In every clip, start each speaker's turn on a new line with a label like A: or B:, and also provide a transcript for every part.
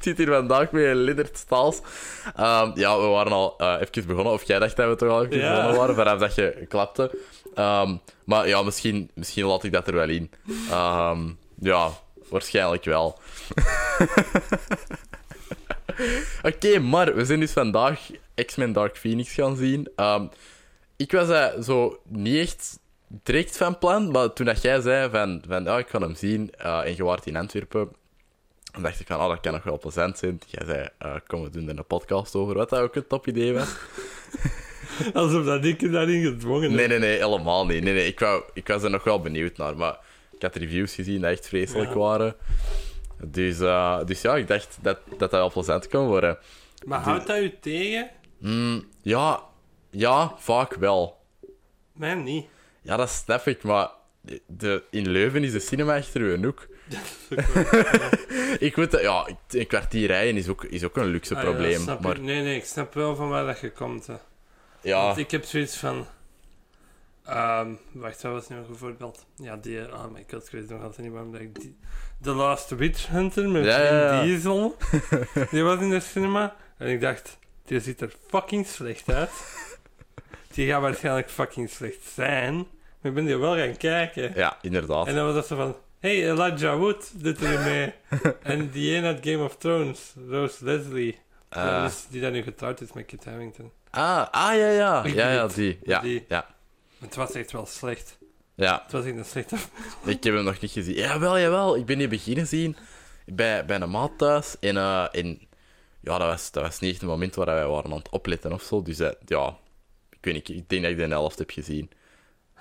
A: zit hier vandaag met Liddert Staals. Ehm, ja, we waren al eh, even begonnen. Of jij dacht dat we toch al even
B: Ja.
A: begonnen waren, vanaf dat je klapte. Ehm, maar ja, misschien, misschien laat ik dat er wel in. Ehm, ja, waarschijnlijk wel. Oké, maar we zijn dus vandaag X-Men Dark Phoenix gaan zien. Ehm, ik was dat zo niet echt direct van plan, maar toen dat jij zei van, van ja, ik ga hem zien eh, en je waart in Antwerpen, dan dacht ik van, oh, dat kan nog wel plezant zijn. Jij zei, eh, kom, we doen er een podcast over, wat dat ook een top idee was.
B: Alsof dat ik je daarin gedwongen
A: Nee,
B: heb.
A: nee, nee, helemaal niet. Nee, nee, ik, wou, ik was er nog wel benieuwd naar, maar ik had reviews gezien die echt vreselijk
B: Ja.
A: waren. Dus, eh, dus ja, ik dacht dat dat, dat wel plezant kon worden.
B: Maar houdt dat u tegen?
A: Mm, ja, ja, vaak wel.
B: Mij niet.
A: Ja, dat snap ik, maar de, in Leuven is de cinema achter uw hoek.
B: Dat is ook wel-
A: Ik moet, dat- ja, een kwartier rijden is ook, is ook een luxe
B: Ah ja,
A: probleem.
B: snap ik.
A: maar
B: Nee, nee, ik snap wel van waar dat je komt. Hè.
A: ja,
B: Want ik heb zoiets van... ehm, wacht, wat was nu nog een voorbeeld? Ja, die... eh, Oh my god, ik weet nog altijd niet waarom dat ik die... The Last Witch Hunter met
A: Ja,
B: Vin
A: ja, ja.
B: Diesel. die was in de cinema. En ik dacht, die ziet er fucking slecht uit. Die gaat waarschijnlijk fucking slecht zijn. Maar ik ben die wel gaan kijken.
A: ja, inderdaad.
B: En dan was dat zo van... Hey, Elijah Wood doet er mee. en die ene uit Game of Thrones, Rose Leslie.
A: Eh,
B: Dat is- die dan nu getrouwd is met Kit Harington.
A: ah, ah, ja, ja.
B: Ik
A: Ja, ja,
B: weet.
A: die. Ja,
B: Die.
A: ja.
B: Het was echt wel slecht.
A: ja.
B: Het was echt een slechte...
A: Ik heb hem nog niet gezien. Jawel, jawel. Ik ben die beginnen zien bij, bij een maat thuis. En, eh, en ja, dat was, dat was niet echt een moment waar wij waren aan het opletten of zo. Dus eh, ja, ik weet niet. Ik denk dat ik de helft heb gezien.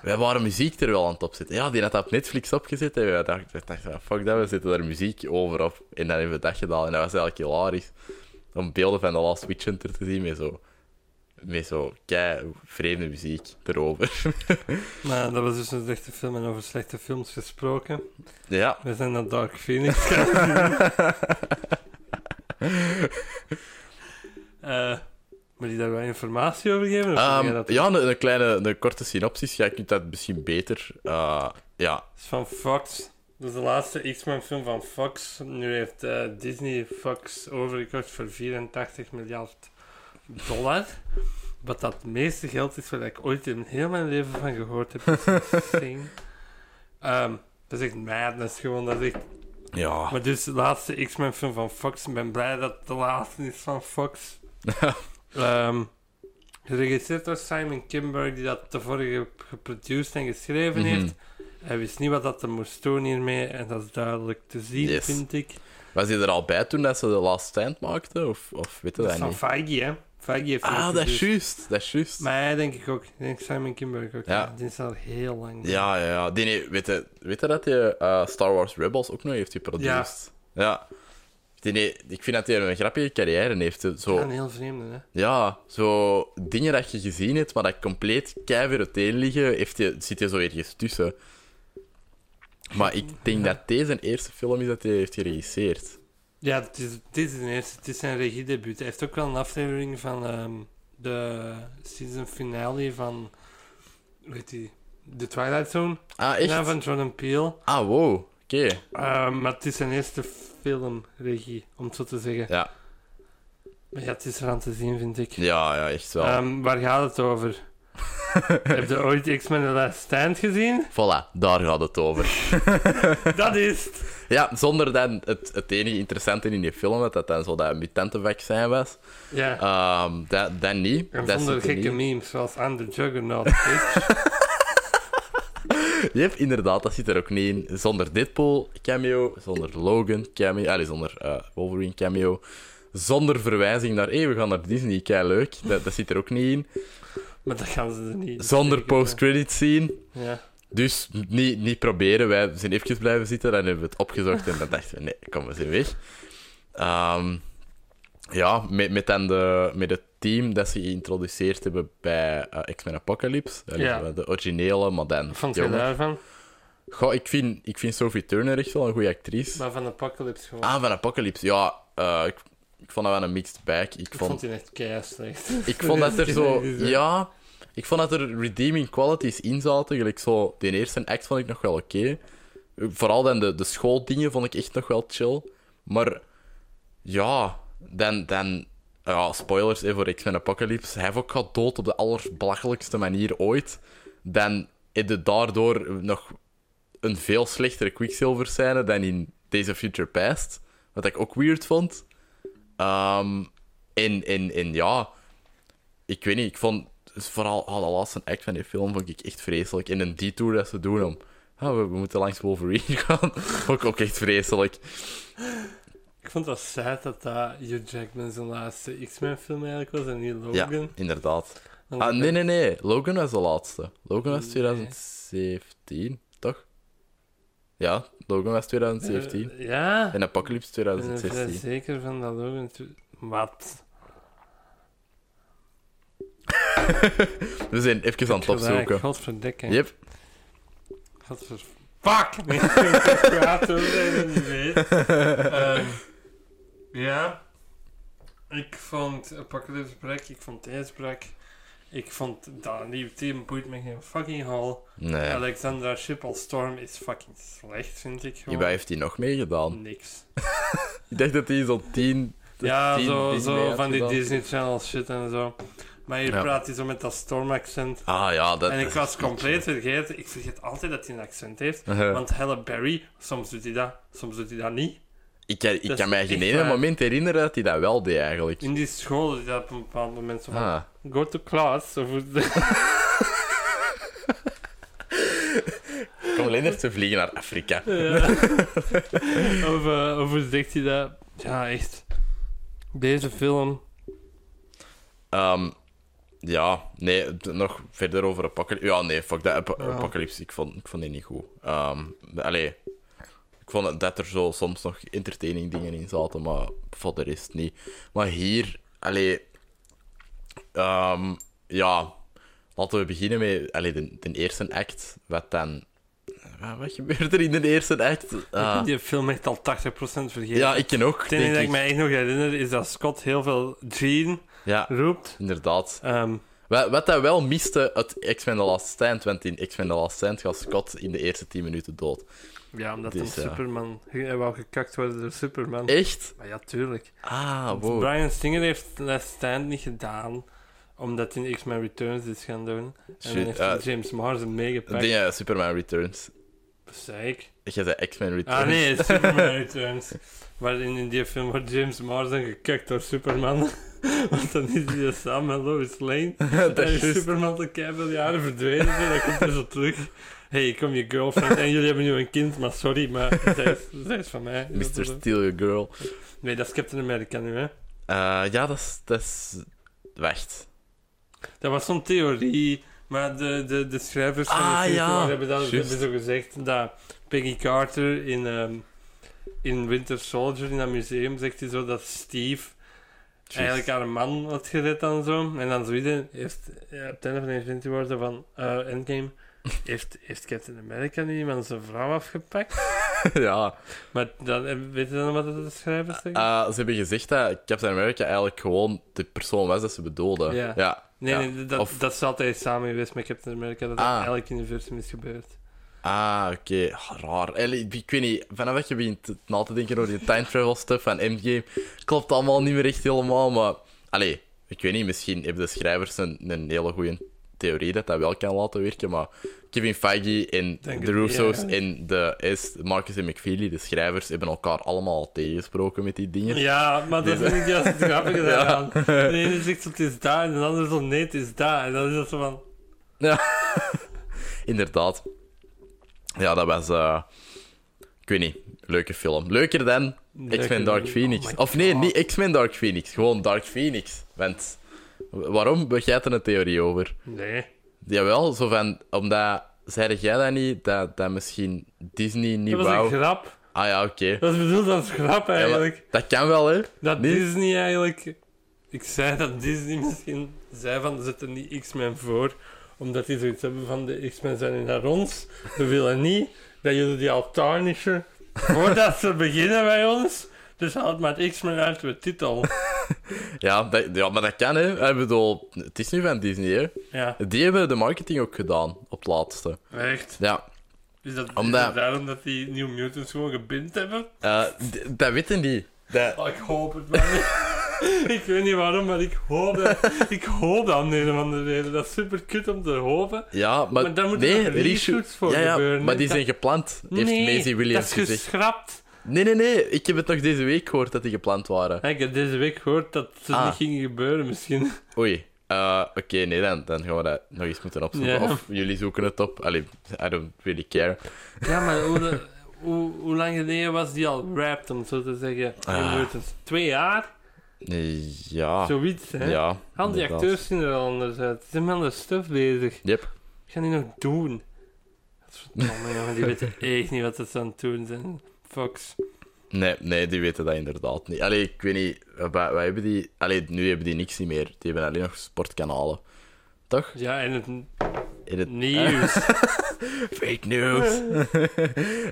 A: Wij waren muziek er wel aan het opzetten. Ja, die had dat op Netflix opgezet. En wij dachten, dachten van, fuck dat, we zetten daar muziek over op. En dan hebben we dat gedaan. En dat was eigenlijk hilarisch. Om beelden van de Last Witch Hunter te zien met zo... Met zo kei vreemde muziek erover.
B: Maar dat was dus een slechte film en over slechte films gesproken.
A: ja.
B: We zijn naar Dark Phoenix gaan. Eh, moet je daar wel informatie over geven? Of wil
A: Ehm,
B: jij dat
A: ja, een, een kleine, een korte synopsis. Ja, je kunt dat misschien beter. eh, ja,
B: Het is van Fox. Dat is de laatste X-Men film van Fox. Nu heeft eh, Disney Fox overgekocht voor 84 miljard dollar. Wat dat meeste geld is wat ik ooit in heel mijn leven van gehoord heb. Dat is insane. Ehm, dat is echt madness gewoon. Dat is echt...
A: ja.
B: Maar dus de laatste X-Men film van Fox. Ik ben blij dat het de laatste is van Fox. Ehm, geregisseerd door Simon Kimberg, die dat de vorige geproduceerd en geschreven
A: Mhm.
B: heeft. Hij wist niet wat dat er moest doen hiermee, en dat is duidelijk te zien,
A: Yes.
B: vind ik.
A: Was je er al bij toen dat ze de Last Stand maakten? Of, of weet je
B: Dat is
A: dat,
B: van
A: niet?
B: Feige, hè? Feige heeft
A: Ah, dat is
B: geproduceerd.
A: juist. Dat is juist.
B: Maar hij denk ik ook. Ik denk Simon Kimberg ook.
A: Ja.
B: Die is al heel lang.
A: Ja, ja, ja. Die, nee, weet, je, weet je dat je eh, Star Wars Rebels ook nog heeft geproduceerd? Ja. Die, nee, ik vind dat hij een grappige carrière heeft. hè. Zo,
B: Ja,
A: ja,
B: Een heel vreemde, hè?
A: zo dingen dat je gezien hebt, maar dat compleet keihard uiteen liggen, heeft die, zit je zo ergens tussen. Maar ik denk dat deze een eerste film is dat hij heeft geregisseerd.
B: Ja, het is, het is zijn eerste. Het is zijn regiedebuut. Hij heeft ook wel een aflevering van ehm, de season finale van. Weet je, The Twilight Zone.
A: Ah, echt?
B: Ja, van Jordan Peele.
A: Ah, wow. Oké.
B: Ehm, maar het is zijn eerste filmregie, om het zo te zeggen.
A: Ja.
B: Maar ja, het is er aan te zien, vind ik.
A: ja, ja, echt wel.
B: Ehm, waar gaat het over? Heb je ooit X-Men The Last Stand gezien?
A: Voilà, daar gaat het over.
B: Dat is het.
A: Ja, zonder dan het, het enige interessante in die film, dat dat dan zo dat mutantenvaccin was.
B: Ja.
A: Ehm, dat, dat niet.
B: en
A: dat
B: zonder
A: zit er
B: gekke
A: niet.
B: memes, zoals I'm the Juggernaut. bitch.
A: Yep, inderdaad, dat zit er ook niet in. Zonder Deadpool cameo, zonder Logan cameo, allee, zonder eh, Wolverine cameo. Zonder verwijzing naar, hey, we gaan naar Disney, kei leuk. Dat, dat zit er ook niet in.
B: maar dat gaan ze er niet.
A: Zonder
B: Zeker, ja.
A: post-credit scene.
B: Ja.
A: Dus niet, niet proberen. Wij zijn even blijven zitten. Dan hebben we het opgezocht. En dan dachten we, nee, kom, we zijn weg. Ehm, ja, met, met, dan de, met het team dat ze geïntroduceerd hebben bij eh, X-Men Apocalypse. Dat is
B: Ja.
A: wel De originele, maar dan...
B: Vond je
A: jonger.
B: daarvan?
A: Goh, ik vind, ik vind Sophie Turner echt wel een goede actrice.
B: Maar van Apocalypse gewoon.
A: Ah, van Apocalypse. Ja, eh, ik, ik vond dat wel een mixed bag. Ik
B: ik
A: vond,
B: vond die echt keihard slecht.
A: ik vond dat er zo... Ja, ik vond dat er redeeming qualities in zaten. Gelijk zo, de eerste act vond ik nog wel oké. Vooral dan de, de schooldingen vond ik echt nog wel chill. Maar Ja, dan... dan ja, spoilers hè, voor X-Men Apocalypse. Hij heeft ook gaat dood op de allerbelachelijkste manier ooit. Dan is het daardoor nog een veel slechtere Quicksilver scène dan in Days of Future Past. Wat ik ook weird vond. Ehm en, en, en ja... Ik weet niet, ik vond... dus vooral al de laatste act van die film vond ik echt vreselijk. In een detour dat ze doen om... ah, we, we moeten langs Wolverine gaan. vond ik ook echt vreselijk.
B: Ik vond dat sad dat dat Hugh Jackman zijn laatste X-Men-film eigenlijk was en niet
A: Ja,
B: Logan.
A: inderdaad.
B: Dan
A: Ah,
B: dacht
A: nee,
B: ik,
A: nee, nee. Logan was de laatste. Logan was
B: Nee.
A: 2017, toch? Ja, Logan was 2017.
B: eh, ja, ik
A: En Apocalypse
B: ben er vrij
A: 2016.
B: zeker van dat Logan... toe- Wat?
A: We zijn even aan het
B: Gelijk,
A: opzoeken.
B: Godverdikke.
A: Yep.
B: Godver... Fuck! Nee, ik ben het kwaad hoor, dat je dat niet weet. Ehm, ja. Ik vond Apocalypse Break, ik vond Thijs Break. Ik vond dat nieuwe team boeit me geen fucking hal.
A: Nee.
B: Alexandra Ship als Storm is fucking slecht, vind ik gewoon.
A: Hierbij heeft hij nog meegedaan.
B: Niks.
A: Ik dacht dat hij zo'n 10.
B: Ja,
A: 10
B: zo,
A: dingen
B: zo
A: mee
B: van die
A: had gedaan.
B: Disney Channel shit en zo. Maar hier
A: Ja.
B: praat hij zo met dat Storm accent.
A: Ah ja, dat
B: En ik
A: is.
B: was compleet vergeten, ik vergeet altijd dat hij een accent heeft. Want Halle Berry, soms doet hij dat, soms doet hij dat niet.
A: Ik kan, ik kan
B: dat is
A: mij geen
B: echt
A: ene
B: waar.
A: moment herinneren dat hij dat wel deed eigenlijk.
B: In die school doet hij dat op een bepaald moment zo van,
A: Ah.
B: go to class. Of,
A: Kom, Leonard, ze vliegen naar Afrika.
B: Ja. of, eh, of hoe zegt hij dat? Ja, echt. Deze film,
A: Ehm, ja, nee, d- nog verder over Apocalypse. Ja, nee, fuck dat Ap-
B: Ja.
A: Apocalypse. Ik vond, ik vond die niet goed. Ehm, de- allee, ik vond het- dat er zo soms nog entertaining dingen in zaten, maar voor de rest niet. Maar hier, allee, ehm, ja, laten we beginnen met allee, de, de eerste act. Wat dan. Wat, wat gebeurt er in de eerste act?
B: ik
A: Ah,
B: heb die film echt al 80% vergeten.
A: ja, ik ken ook.
B: Het enige
A: Denk
B: dat
A: ik.
B: ik me echt nog herinner is dat Scott heel veel Jean
A: Ja,
B: roept.
A: inderdaad.
B: Ehm,
A: Wat, wat dat wel miste uit X-Men The Last Stand, want in X-Men The Last Stand gaat Scott in de eerste 10 minuten dood.
B: ja, omdat
A: Dus,
B: hem
A: ja. Eh.
B: Superman... Hij wou gekakt worden door Superman.
A: Echt?
B: Maar ja, tuurlijk.
A: Ah,
B: Want
A: wow.
B: Brian Singer heeft Last Stand niet gedaan, omdat hij in X-Men Returns is gaan doen. En dan
A: Shit,
B: heeft
A: eh,
B: hij James Marsden meegepakt.
A: Dingen, Superman Returns.
B: Zei ik.
A: Je zei X-Men Returns.
B: Ah nee, Superman Returns. Waarin in die film wordt James Marsden gekakt door Superman. Want dan is hij dus samen met Lois Lane.
A: dat
B: En
A: is
B: is
A: juist.
B: Superman al keiveel jaren verdwenen zijn, dan komt hij zo terug. hey, ik kom je girlfriend en jullie hebben nu een kind, maar sorry, maar zij is, zij is van mij.
A: Mr. Steal Your Girl.
B: Nee, dat is Captain America nu, hè.
A: Eh, ja, dat is- dat is... Wacht.
B: Dat was zo'n theorie, maar de, de, de schrijvers van
A: Ah,
B: de serie
A: ja,
B: hebben, dat,
A: juist.
B: hebben zo gezegd dat Peggy Carter in, ehm, in Winter Soldier, in dat museum, zegt hij zo dat Steve
A: Juist.
B: eigenlijk haar man had gered en zo. En dan zoiets heeft ja, op het einde van Infinity War zo van eh, Endgame. Heeft, heeft Captain America nu iemand zijn vrouw afgepakt?
A: ja.
B: Maar dan, eh, weet je dan wat het de schrijvers zeggen?
A: Eh, ze hebben gezegd dat Captain America eigenlijk gewoon de persoon was dat ze bedoelden.
B: Ja.
A: ja.
B: nee,
A: ja.
B: nee, dat,
A: of-
B: dat is altijd samen geweest met Captain America. Dat
A: Ah.
B: in elk universum is gebeurd.
A: Ah, oké. Ah, raar. Eigenlijk, Ik weet niet, vanaf dat je begint te- na te denken over die time travel stuff van Endgame, klopt allemaal niet meer echt helemaal, maar... Allee, ik weet niet, misschien hebben de schrijvers een, een hele goede theorie dat dat wel kan laten werken, maar Kevin Feige en de
B: Denk het,
A: Russo's
B: ja.
A: en de is Marcus en McFeely, de schrijvers, hebben elkaar allemaal al tegengesproken met die dingen.
B: Ja, maar dat
A: Nee,
B: vind ik juist het grappige daaraan. De ene zegt zo, het is daar, en de ander zo, nee, het is daar. En dan is dat zo van...
A: Inderdaad. Ja, dat was... eh, ik weet niet, leuke film. Leuker dan X-Men Dark Phoenix.
B: Oh my
A: of nee,
B: God.
A: niet X-Men Dark Phoenix. Gewoon Dark Phoenix. Want wa- waarom? We jij er een theorie over.
B: Nee.
A: Jawel, zo van... Omdat... Zeide jij dat niet? Dat, dat misschien Disney niet
B: Dat was
A: wou...
B: een grap.
A: Ah ja, oké.
B: Dat is bedoeld als grap,
A: Ja, maar
B: eigenlijk.
A: dat kan wel, hè?
B: Dat
A: Nee.
B: Disney eigenlijk. Ik zei dat Disney misschien zei van zet er niet X-Men voor, omdat die zoiets hebben van de X-Men zijn naar ons. We willen niet dat jullie die al tarnishen voordat ze beginnen bij ons. Dus houd maar X-Men uit de titel.
A: Ja, dat, ja, maar dat kan, hè? Ik bedoel, het is nu van Disney, hè?
B: Ja,
A: Die hebben de marketing ook gedaan, op het laatste.
B: echt.
A: Ja.
B: Is dat, is
A: Omdat-
B: dat daarom dat die New Mutants gewoon gebind hebben?
A: Eh, d- dat weten die. Dat,
B: Oh, ik hoop het maar niet. ik weet niet waarom, maar ik hoop dat. Ik hoop dat om de een of andere reden. Dat is super kut om te hopen.
A: ja, maar,
B: Maar daar moeten
A: nee,
B: nog reshoots voor
A: ja, ja,
B: gebeuren,
A: Maar
B: hè?
A: die
B: Dat-
A: zijn gepland, heeft
B: nee,
A: Maisie Williams
B: dat is dus-
A: gezegd.
B: geschrapt.
A: Nee, nee, nee. Ik heb het nog deze week gehoord dat die gepland waren.
B: Ja, Ik heb deze week gehoord dat het
A: Ah.
B: niet ging gebeuren, misschien.
A: Oei. Eh, Oké, nee, dan, dan gaan we dat nog eens moeten opzoeken.
B: Ja.
A: Of jullie zoeken het op. Allee, I don't really care.
B: Ja, maar hoe, de- hoe, hoe lang geleden was die al wrapped, om het zo te zeggen?
A: Ah.
B: Gebeurtens. Twee jaar?
A: Eh, Ja.
B: Zoiets, hè?
A: Ja.
B: Al die
A: inderdaad.
B: acteurs zien er al anders uit. Ze zijn met de stuff bezig.
A: Yep.
B: Wat gaan die nog doen? Verdomme, jongen, die weten echt niet wat ze aan het doen zijn. Fox.
A: Nee, nee, die weten dat inderdaad niet. Allee, ik weet niet. eh, Wij, wij hebben die... Allee, nu hebben die niks niet meer. Die hebben alleen nog sportkanalen. Toch?
B: Ja, en het
A: In het... Eh.
B: nieuws.
A: Fake news.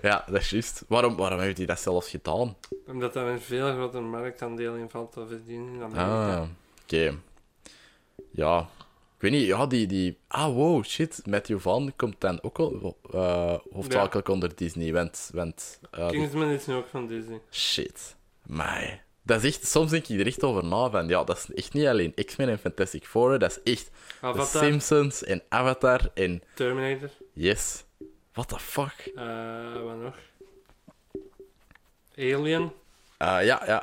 A: ja, dat is juist. Waarom, waarom heeft hij dat zelfs gedaan?
B: Omdat daar een veel groter marktaandeel in valt te verdienen in Amerika.
A: Ah, oké. Ja, ik weet niet. Ja, die, die... Ah, wow, shit. Matthew Van komt dan ook al eh hoofdzakelijk onder Disney. Want... want eh, die-
B: Kingsman is nu ook van Disney.
A: Shit. Mai. Dat is echt... Soms denk ik er echt over na van... Ja, dat is echt niet alleen X-Men en Fantastic Four. hè. Dat is echt
B: Avatar,
A: The Simpsons en Avatar en...
B: Terminator,
A: Yes. What the fuck?
B: eh, wat nog? Alien.
A: Ah, ja, ja.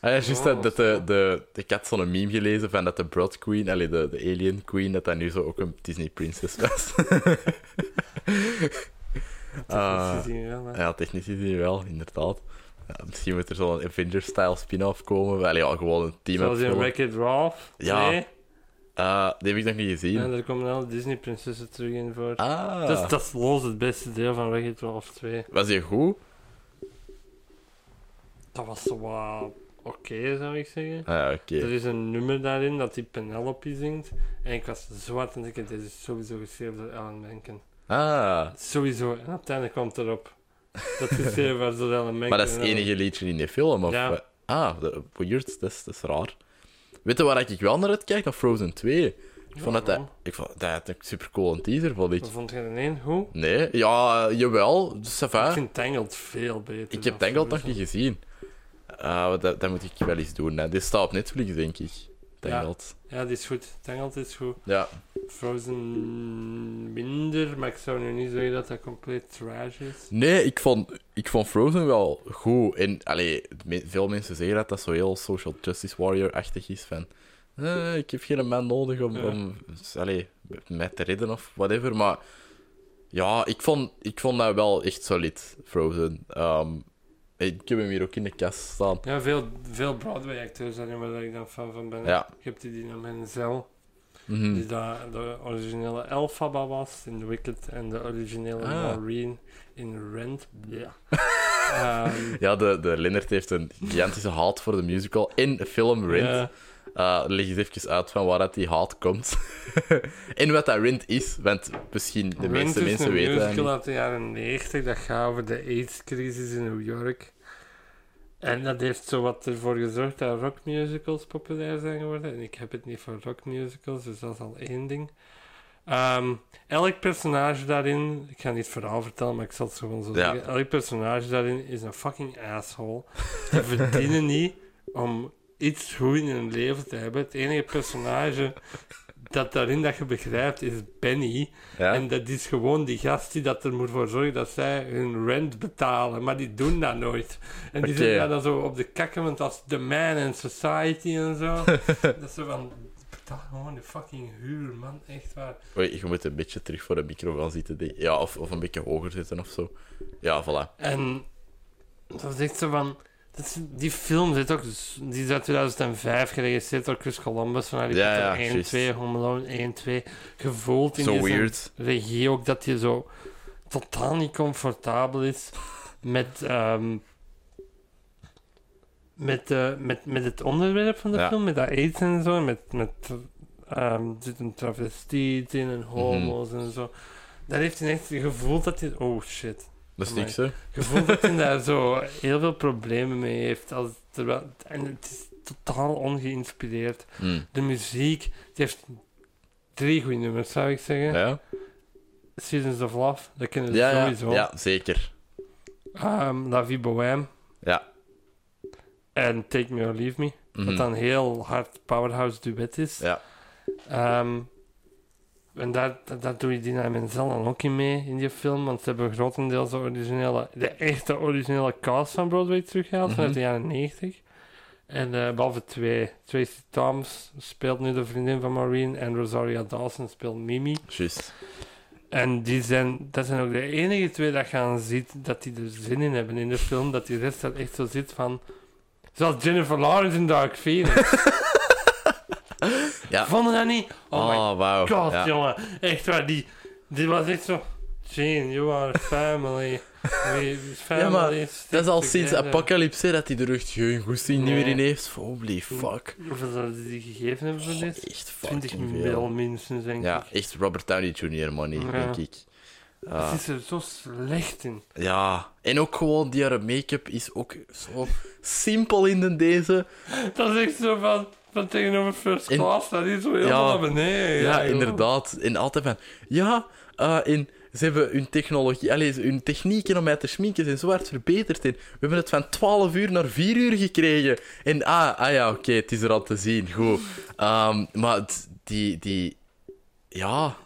A: Ah, ja, juist dat,
B: Oh,
A: dat de, de, ik had zo'n meme gelezen van dat de Broad Queen, allee, de, de Alien Queen, dat dat nu zo ook een Disney Princess was. Ah.
B: Dat is gezien, ja, maar-
A: ja, technisch gezien wel, inderdaad. Ja, misschien moet er zo'n Avengers-style spin-off komen. Wel ja, gewoon een team
B: Zoals in
A: opvullen.
B: Wreck-It Ralph.
A: Ja.
B: Nee.
A: Ah, Die heb ik nog niet gezien.
B: En daar komen alle Disney-prinsessen terug in voor.
A: Ah,
B: Dat, is, dat is los het beste deel van Wreck-It Ralph 2.
A: was die goed?
B: Dat was zo wat oké, zou ik zeggen.
A: Ah, ja, oké.
B: Er is een nummer daarin dat die Penelope zingt. En ik was zwart en ik dacht, dit is sowieso geschreven door Alan Menken.
A: Ah,
B: Sowieso. En uiteindelijk kwam het erop. Dat is geschreven was door Alan Menken.
A: maar dat is het
B: En-
A: enige liedje in die film, of...
B: Ja.
A: wat? Ah, dat- weird, dat is, dat is raar. Weet je waar ik wel naar uitkijk? Naar Frozen 2. Ik vond dat, dat,
B: Waarom?
A: ik vond dat had een supercool een teaser, vond ik.
B: Wat vond je er één? Hoe?
A: Nee, ja, jawel, ça va.
B: Ik
A: Ik,
B: vind Tangled veel beter.
A: heb
B: dan
A: Tangled nog
B: Frozen.
A: niet gezien. Eh, want dat, dat moet ik wel eens doen. Hè. Dit staat op Netflix, denk ik. Tangled.
B: Ja, die is goed. Tangled is goed.
A: Ja.
B: Frozen minder, maar ik zou nu niet zeggen dat dat compleet trash is.
A: Nee, ik vond, ik vond Frozen wel goed. En allee, me- veel mensen zeggen dat dat zo heel social justice warrior-achtig is. Van, eh, ik heb geen man nodig om,
B: Ja.
A: om allee, mij te redden of whatever. Maar ja, ik vond, ik vond dat wel echt solid, Frozen. Ehm, ik heb hem hier ook in de kast staan.
B: Ja, veel, veel Broadway-acteurs zijn er waar ik dan fan van ben.
A: Ja.
B: Je hebt die Dina Menzel,
A: Mhm.
B: die daar de originele Elphaba was in The Wicked en de originele
A: Ah.
B: Maureen in Rent. Ja. Ehm,
A: Ja, de, de Lennart heeft een gigantische haat voor de musical in de film Rent.
B: ja.
A: Eh, leg eens even uit van waar dat die haat komt. en wat dat Rent is, want misschien de
B: Rent
A: meeste
B: is
A: mensen
B: een
A: weten dat
B: musical
A: niet.
B: uit de jaren 90. Dat gaat over de AIDS-crisis in New York. En dat heeft zo wat ervoor gezorgd dat rockmusicals populair zijn geworden. En ik heb het niet voor rockmusicals, dus dat is al één ding. Ehm, elk personage daarin, ik ga niet het verhaal vertellen, maar ik zal het gewoon zo
A: Ja.
B: zeggen. Elk personage daarin is een fucking asshole. Die verdienen niet om iets goed in hun leven te hebben. Het enige personage dat daarin dat je begrijpt is Benny.
A: Ja?
B: En dat is gewoon die gast die dat er moet voor zorgen dat zij hun rent betalen. Maar die doen dat nooit. En die
A: Oké.
B: zitten daar dan zo op de kakken, want als the man and society en zo. dat is zo van, betaal gewoon de fucking huur, man. Echt waar.
A: Oei, je moet een beetje terug voor de microfoon zitten. denk ik. Ja, of, of een beetje hoger zitten of zo. Ja, voilà.
B: En dat is echt zo van... Dat is, die film zit ook... Die is uit 2005 geregisseerd door Chris Columbus. Van Harry
A: Ja,
B: Potter
A: ja,
B: 1,
A: juist.
B: 2, Home Alone 1, 2. Gevoeld
A: Zo
B: in die zijn
A: weird.
B: regie ook dat je zo totaal niet comfortabel is met, ehm, met, eh, met, met het onderwerp van de
A: Ja.
B: film, met dat eten en zo, en met, met ehm, er zit een travestiet in en homo's en zo. Daar heeft hij echt gevoeld dat hij, oh shit,
A: Dat is
B: Amai.
A: niks, hè?
B: gevoeld dat hij daar zo heel veel problemen mee heeft. Als, terwijl, en het is totaal ongeïnspireerd.
A: Hm.
B: De muziek, die heeft drie goede nummers, zou ik zeggen.
A: Ja?
B: Seasons of Love, dat kennen ze
A: Ja, ja,
B: sowieso.
A: ja, zeker.
B: Ehm, La Vie Bohème.
A: Ja.
B: en Take Me or Leave Me.
A: Hmm.
B: Wat dan een heel hard powerhouse duet is.
A: Mhm. Ja.
B: Ehm, en daar, daar- daar doe je Dina Menzel dan ook in mee in die film. Want ze hebben grotendeels de, originele, de echte originele cast van Broadway teruggehaald
A: Mhm.
B: vanuit de jaren 90. En eh, behalve twee. Tracy Thoms speelt nu de vriendin van Maureen. En Rosaria Dawson speelt Mimi.
A: Juist.
B: En die zijn, dat zijn ook de enige twee dat je aan ziet dat die er zin in hebben in de film. Dat die rest daar echt zo zit van. Zoals Jennifer Lawrence in Dark Phoenix.
A: Ja.
B: Vonden dat niet? Oh, my
A: Oh, wauw.
B: god,
A: Ja.
B: jongen. Echt waar, die, die was echt zo. Jane, you are family. We, family
A: Ja, maar
B: stick
A: Dat is al sinds
B: together.
A: Apocalypse hè, dat hij er echt geen goesting niet
B: Nee.
A: meer in heeft. Holy fuck.
B: Hoeveel zouden ze die gegeven hebben voor
A: God,
B: dit?
A: echt
B: 20
A: fucking
B: mil
A: veel.
B: minstens, denk
A: Ja,
B: ik.
A: echt Robert Downey Jr. money,
B: Ja.
A: denk ik. Ah.
B: Het is er zo slecht in.
A: Ja, en ook gewoon die haar make-up is ook zo simpel in de deze.
B: Dat is echt zo van, van tegenover First
A: In-
B: Class, dat is zo helemaal
A: Ja.
B: naar beneden.
A: Ja,
B: joh.
A: inderdaad. En altijd van, ja, eh, en ze hebben hun technologie, allez, hun technieken om mij te schminken zijn zo hard verbeterd. En we hebben het van 12 uur naar 4 uur gekregen. En ah, ah ja, oké, het is er al te zien. Goed. Ehm, maar het- die, die, ja,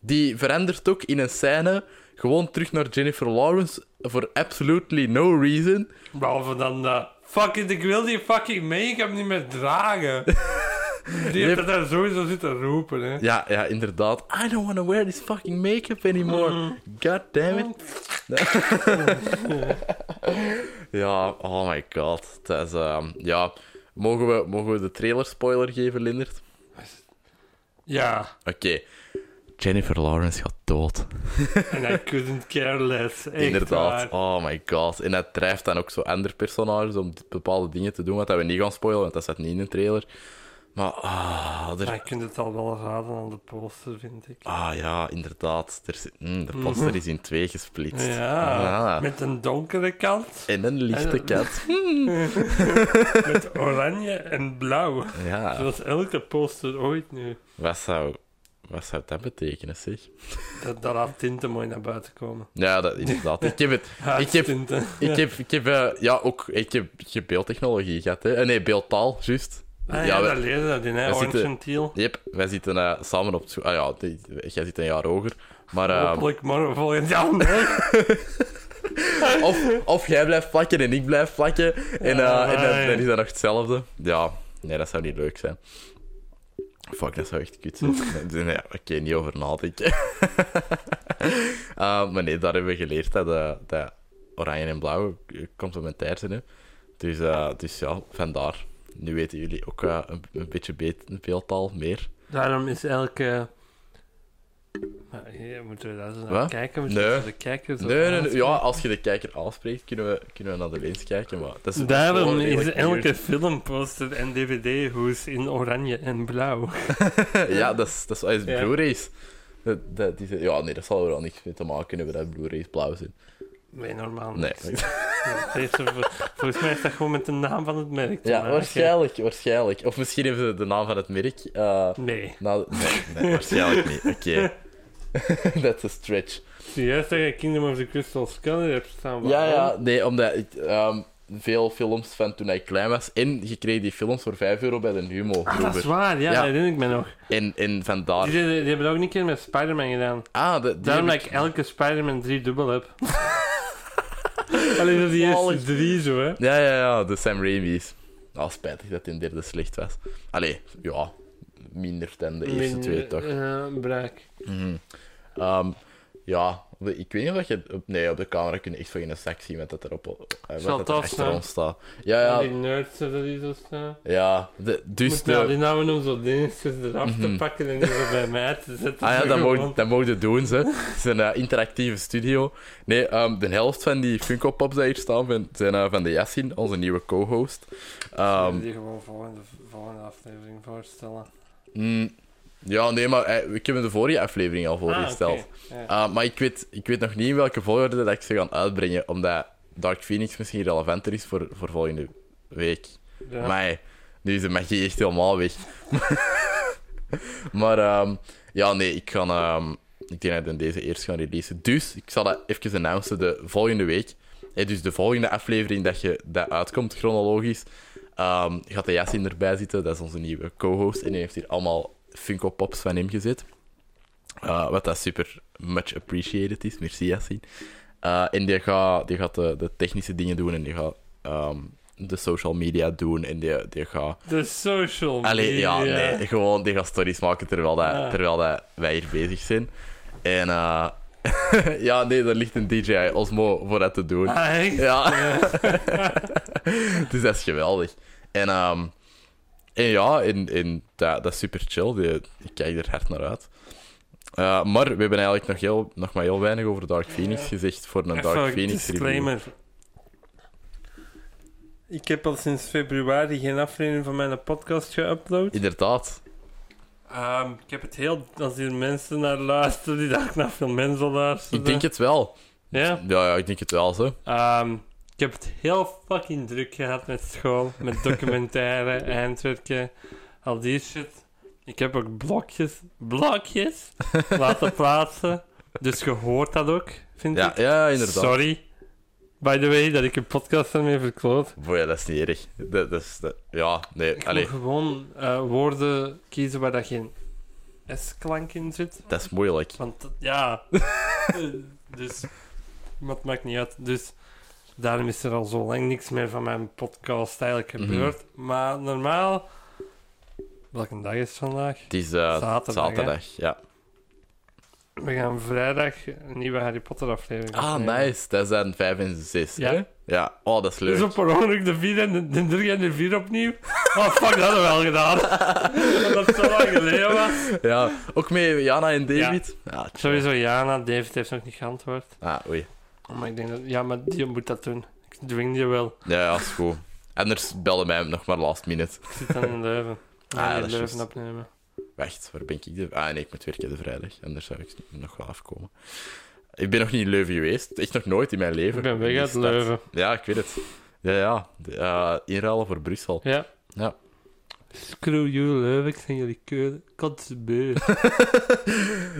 A: die verandert ook in een scène gewoon terug naar Jennifer Lawrence voor absolutely no reason.
B: Behalve dan dat. Fucking, ik wil die fucking make-up niet meer dragen. Die
A: Nee.
B: heeft dat daar sowieso zitten roepen, hè.
A: Ja, ja, inderdaad. I don't want to wear this fucking makeup anymore. God damn it. ja, oh my god. Dat is, ehm, ja. Mogen we, mogen we de trailer spoiler geven, Lindert?
B: Ja,
A: Oké. Jennifer Lawrence gaat dood.
B: en I couldn't care less. Echt
A: Inderdaad.
B: waar.
A: Oh my god. En dat drijft dan ook zo andere personages om bepaalde dingen te doen, wat dat we niet gaan spoilen, want dat staat niet in de trailer. Maar, ah, er
B: Maar je kunt het al wel raden aan de poster, vind ik.
A: Ah ja, inderdaad. Er zit- mm, de poster is in twee gesplitst.
B: Ja,
A: Ah.
B: met een donkere kant,
A: En een lichte
B: En-
A: kat.
B: met oranje en blauw.
A: Ja,
B: Zoals elke poster ooit nu.
A: wat zou, wat zou dat betekenen, zeg?
B: Dat, dat laat tinten mooi naar buiten komen.
A: Ja, dat, inderdaad. Ik heb het... Ik heb,
B: Tinten.
A: ik heb, ik heb eh, ja, ook... Ik heb, ik heb beeldtechnologie gehad, hè. Eh, Nee, beeldtaal, juist.
B: Ah, ja,
A: ja,
B: daar
A: we,
B: leerde dat in, hè.
A: we
B: Orange
A: zitten-
B: en teal.
A: yep, wij zitten eh, samen op school. Ah ja, die- jij zit een jaar hoger.
B: Oh,
A: Maar... eh,
B: Hopelijk morgen volgend jaar. Nee.
A: of, of jij blijft plakken en ik blijf plakken. En, eh,
B: Ja,
A: en dan,
B: ja.
A: dan is dat nog hetzelfde. Ja, nee, dat zou niet leuk zijn. Fuck, dat zou echt kut zijn. Nee, nee, Oké, niet over nadenken. Eh, maar nee, daar hebben we geleerd dat, eh, dat oranje en blauw eh, complementair zijn. Hè. Dus, eh, dus ja, vandaar. Nu weten jullie ook eh, een, een beetje beter, beeldtaal meer.
B: Daarom is elke. Maar hier moeten we daar zo naar
A: Wat?
B: kijken? Moeten
A: Nee.
B: we de kijkers ook
A: Nee, nee, nee,
B: aanspreken?
A: ja, als je de kijker aanspreekt, kunnen we, kunnen we naar de lens kijken. Maar dat is
B: Daarom
A: gewoon
B: is
A: redelijk weird.
B: elke filmposter en dvd-hoes in oranje en blauw.
A: ja, dat is, dat is, dat is
B: Ja.
A: Blu-rays. Dat, dat, die, zijn- ja, nee, dat zal er wel niks mee te maken hebben dat Blu-rays blauw zijn.
B: Nee, normaal
A: Nee.
B: niet. Ja, deze vol- volgens mij is dat gewoon met de naam van het merk. te
A: Ja,
B: maken.
A: waarschijnlijk, waarschijnlijk. Of misschien hebben ze de naam van het merk. eh,
B: Nee.
A: nou, nee, nee, waarschijnlijk niet. Oké. Dat is een stretch.
B: Zie juist dat je Kingdom of the Crystal Skull hebt staan.
A: Ja, ja,
B: waarom?
A: nee, omdat ik ehm, veel films van toen ik klein was. En je kreeg die films voor 5 euro bij de Humo.
B: Ah, dat is
A: vroeger.
B: waar,
A: Ja.
B: ja,
A: Ah.
B: dat herinner ik me nog.
A: en, en
B: Die,
A: vandaar.
B: die, die hebben dat ook een keer met Spider-Man gedaan.
A: Ah, de, die
B: Daarom
A: heb
B: dat ik elke Spider-Man 3 dubbel heb. Alleen dat die
A: Zalig.
B: eerste drie zo, hè.
A: Ja, ja, ja, de Sam Raimi's. Ah, spijtig dat die in derde slecht was. Allee, ja, minder dan de eerste
B: Min-
A: twee, toch?
B: eh, braak.
A: Mhm. Ehm, ja, de- ik weet niet of je... op- Nee, op de camera kun je echt van geen zak zien wat dat er, op, eh,
B: Zal
A: wat dat er
B: tof
A: achter
B: zijn.
A: ons staat. Ja,
B: Ja.
A: ja,
B: Die nerds hebben die zo staan.
A: ja. De, dus
B: Moet nou die
A: de...
B: namen om zo dingetjes eraf te pakken en die zo bij mij te zetten.
A: Ah ja, dat
B: Gewoon.
A: mogen, dat mogen ze doen, ze. Het is een eh, interactieve studio. Nee, ehm, de helft van die Funko Pops die hier staan, van- zijn eh, van de Yassin, onze nieuwe co-host. Ehm,
B: die gewoon volgende, volgende aflevering voorstellen.
A: Mm, ja, nee, maar eh, ik heb in de vorige aflevering al voorgesteld.
B: Ah, oké. Ja.
A: Ah, maar ik weet, ik weet nog niet in welke volgorde dat ik ze ga uitbrengen, omdat Dark Phoenix misschien relevanter is voor, voor volgende week.
B: Ja.
A: Maar nu is de magie echt helemaal weg. maar ehm, ja, nee, ik, ga, ehm, ik denk dat we deze eerst gaan releasen. Dus ik zal dat even announcen de volgende week. Hè, dus de volgende aflevering dat je dat uitkomt, chronologisch, ehm, gaat de Yassin erbij zitten. Dat is onze nieuwe co-host. En die heeft hier allemaal Funko Pops van hem gezet. Eh, wat dat super much appreciated is. Merci, Yassin. Eh, en die gaat, die gaat de, de technische dingen doen en die gaat ehm, de social media doen. En die, die gaat
B: De social media.
A: Allee, ja, nee, gewoon die gaan stories maken terwijl, dat,
B: Ja.
A: terwijl dat wij hier bezig zijn. En eh, ja, nee, daar ligt een DJI Osmo voor dat te doen.
B: Ah, echt?
A: Ja. dus dat is geweldig. En, ehm, en ja, en, en dat, dat is super chill. Die, ik kijk er hard naar uit. Eh, maar we hebben eigenlijk nog, heel, nog maar heel weinig over Dark Phoenix gezegd voor een
B: Even
A: Dark
B: een
A: Phoenix review.
B: disclaimer. Ik heb al sinds februari geen aflevering van mijn podcast geüpload.
A: Inderdaad.
B: Ehm, ik heb het heel... Als hier mensen naar luisteren, die dachten naar veel mensen luisteren.
A: Ik denk het wel.
B: Ja?
A: Ja, ja ik denk het wel, zo.
B: Ehm, ik heb het heel fucking druk gehad met school, met documentaire, eindwerken, al die shit. Ik heb ook blokjes, blokjes laten plaatsen. Dus je hoort dat ook, vind
A: Ja,
B: ik.
A: ja inderdaad.
B: Sorry. By the way, dat ik een podcast ermee verkloot.
A: Boy, dat is niet erg. Dat, dat is, dat- ja,
B: Ik
A: nee,
B: moet
A: Eh, allee,
B: gewoon eh, woorden kiezen waar dat geen S-klank in zit.
A: dat is moeilijk.
B: Want dat- ja. Eh, dus. Maar het maakt niet uit. Dus daarom is er al zo lang niks meer van mijn podcast eigenlijk
A: Mhm.
B: gebeurd. Maar normaal. Welke dag is het vandaag?
A: Het is eh,
B: Zaterdag,
A: zaterdag, ja.
B: We gaan vrijdag een nieuwe Harry Potter aflevering.
A: Ah,
B: opnemen.
A: nice. Dat zijn 5 en 6.
B: Ja.
A: ja. Oh, dat is leuk.
B: Dus op per ongeluk de 4 en de- de 3 en de 4 opnieuw. Oh fuck, dat hadden we al gedaan. Omdat het zo lang geleden was.
A: Ja. Ook met Jana en David. Ja, chill.
B: Sowieso Jana, David heeft nog niet geantwoord.
A: Ah, oei.
B: Oh, maar ik denk dat. Ja, maar die moet dat doen. Ik dwing die wel.
A: Ja, ja, is goed. Anders bellen mij nog maar last minute.
B: Ik zit dan in Leuven.
A: Ah,
B: Ah,
A: dat
B: in
A: is
B: Leuven
A: juist.
B: opnemen.
A: Wacht, waar ben ik? De... Ah, nee, ik moet werken de vrijdag. Anders zou ik nog wel afkomen. Ik ben nog niet in Leuven geweest. Echt nog nooit in mijn leven. Dus In
B: Ik ben weg
A: die
B: uit
A: stad.
B: Leuven.
A: Ja, ik weet het. Ja, ja. De- eh, inruilen voor Brussel.
B: Ja.
A: Ja.
B: Screw you, Leuven. Ik zijn jullie keuren. Kotsbeu.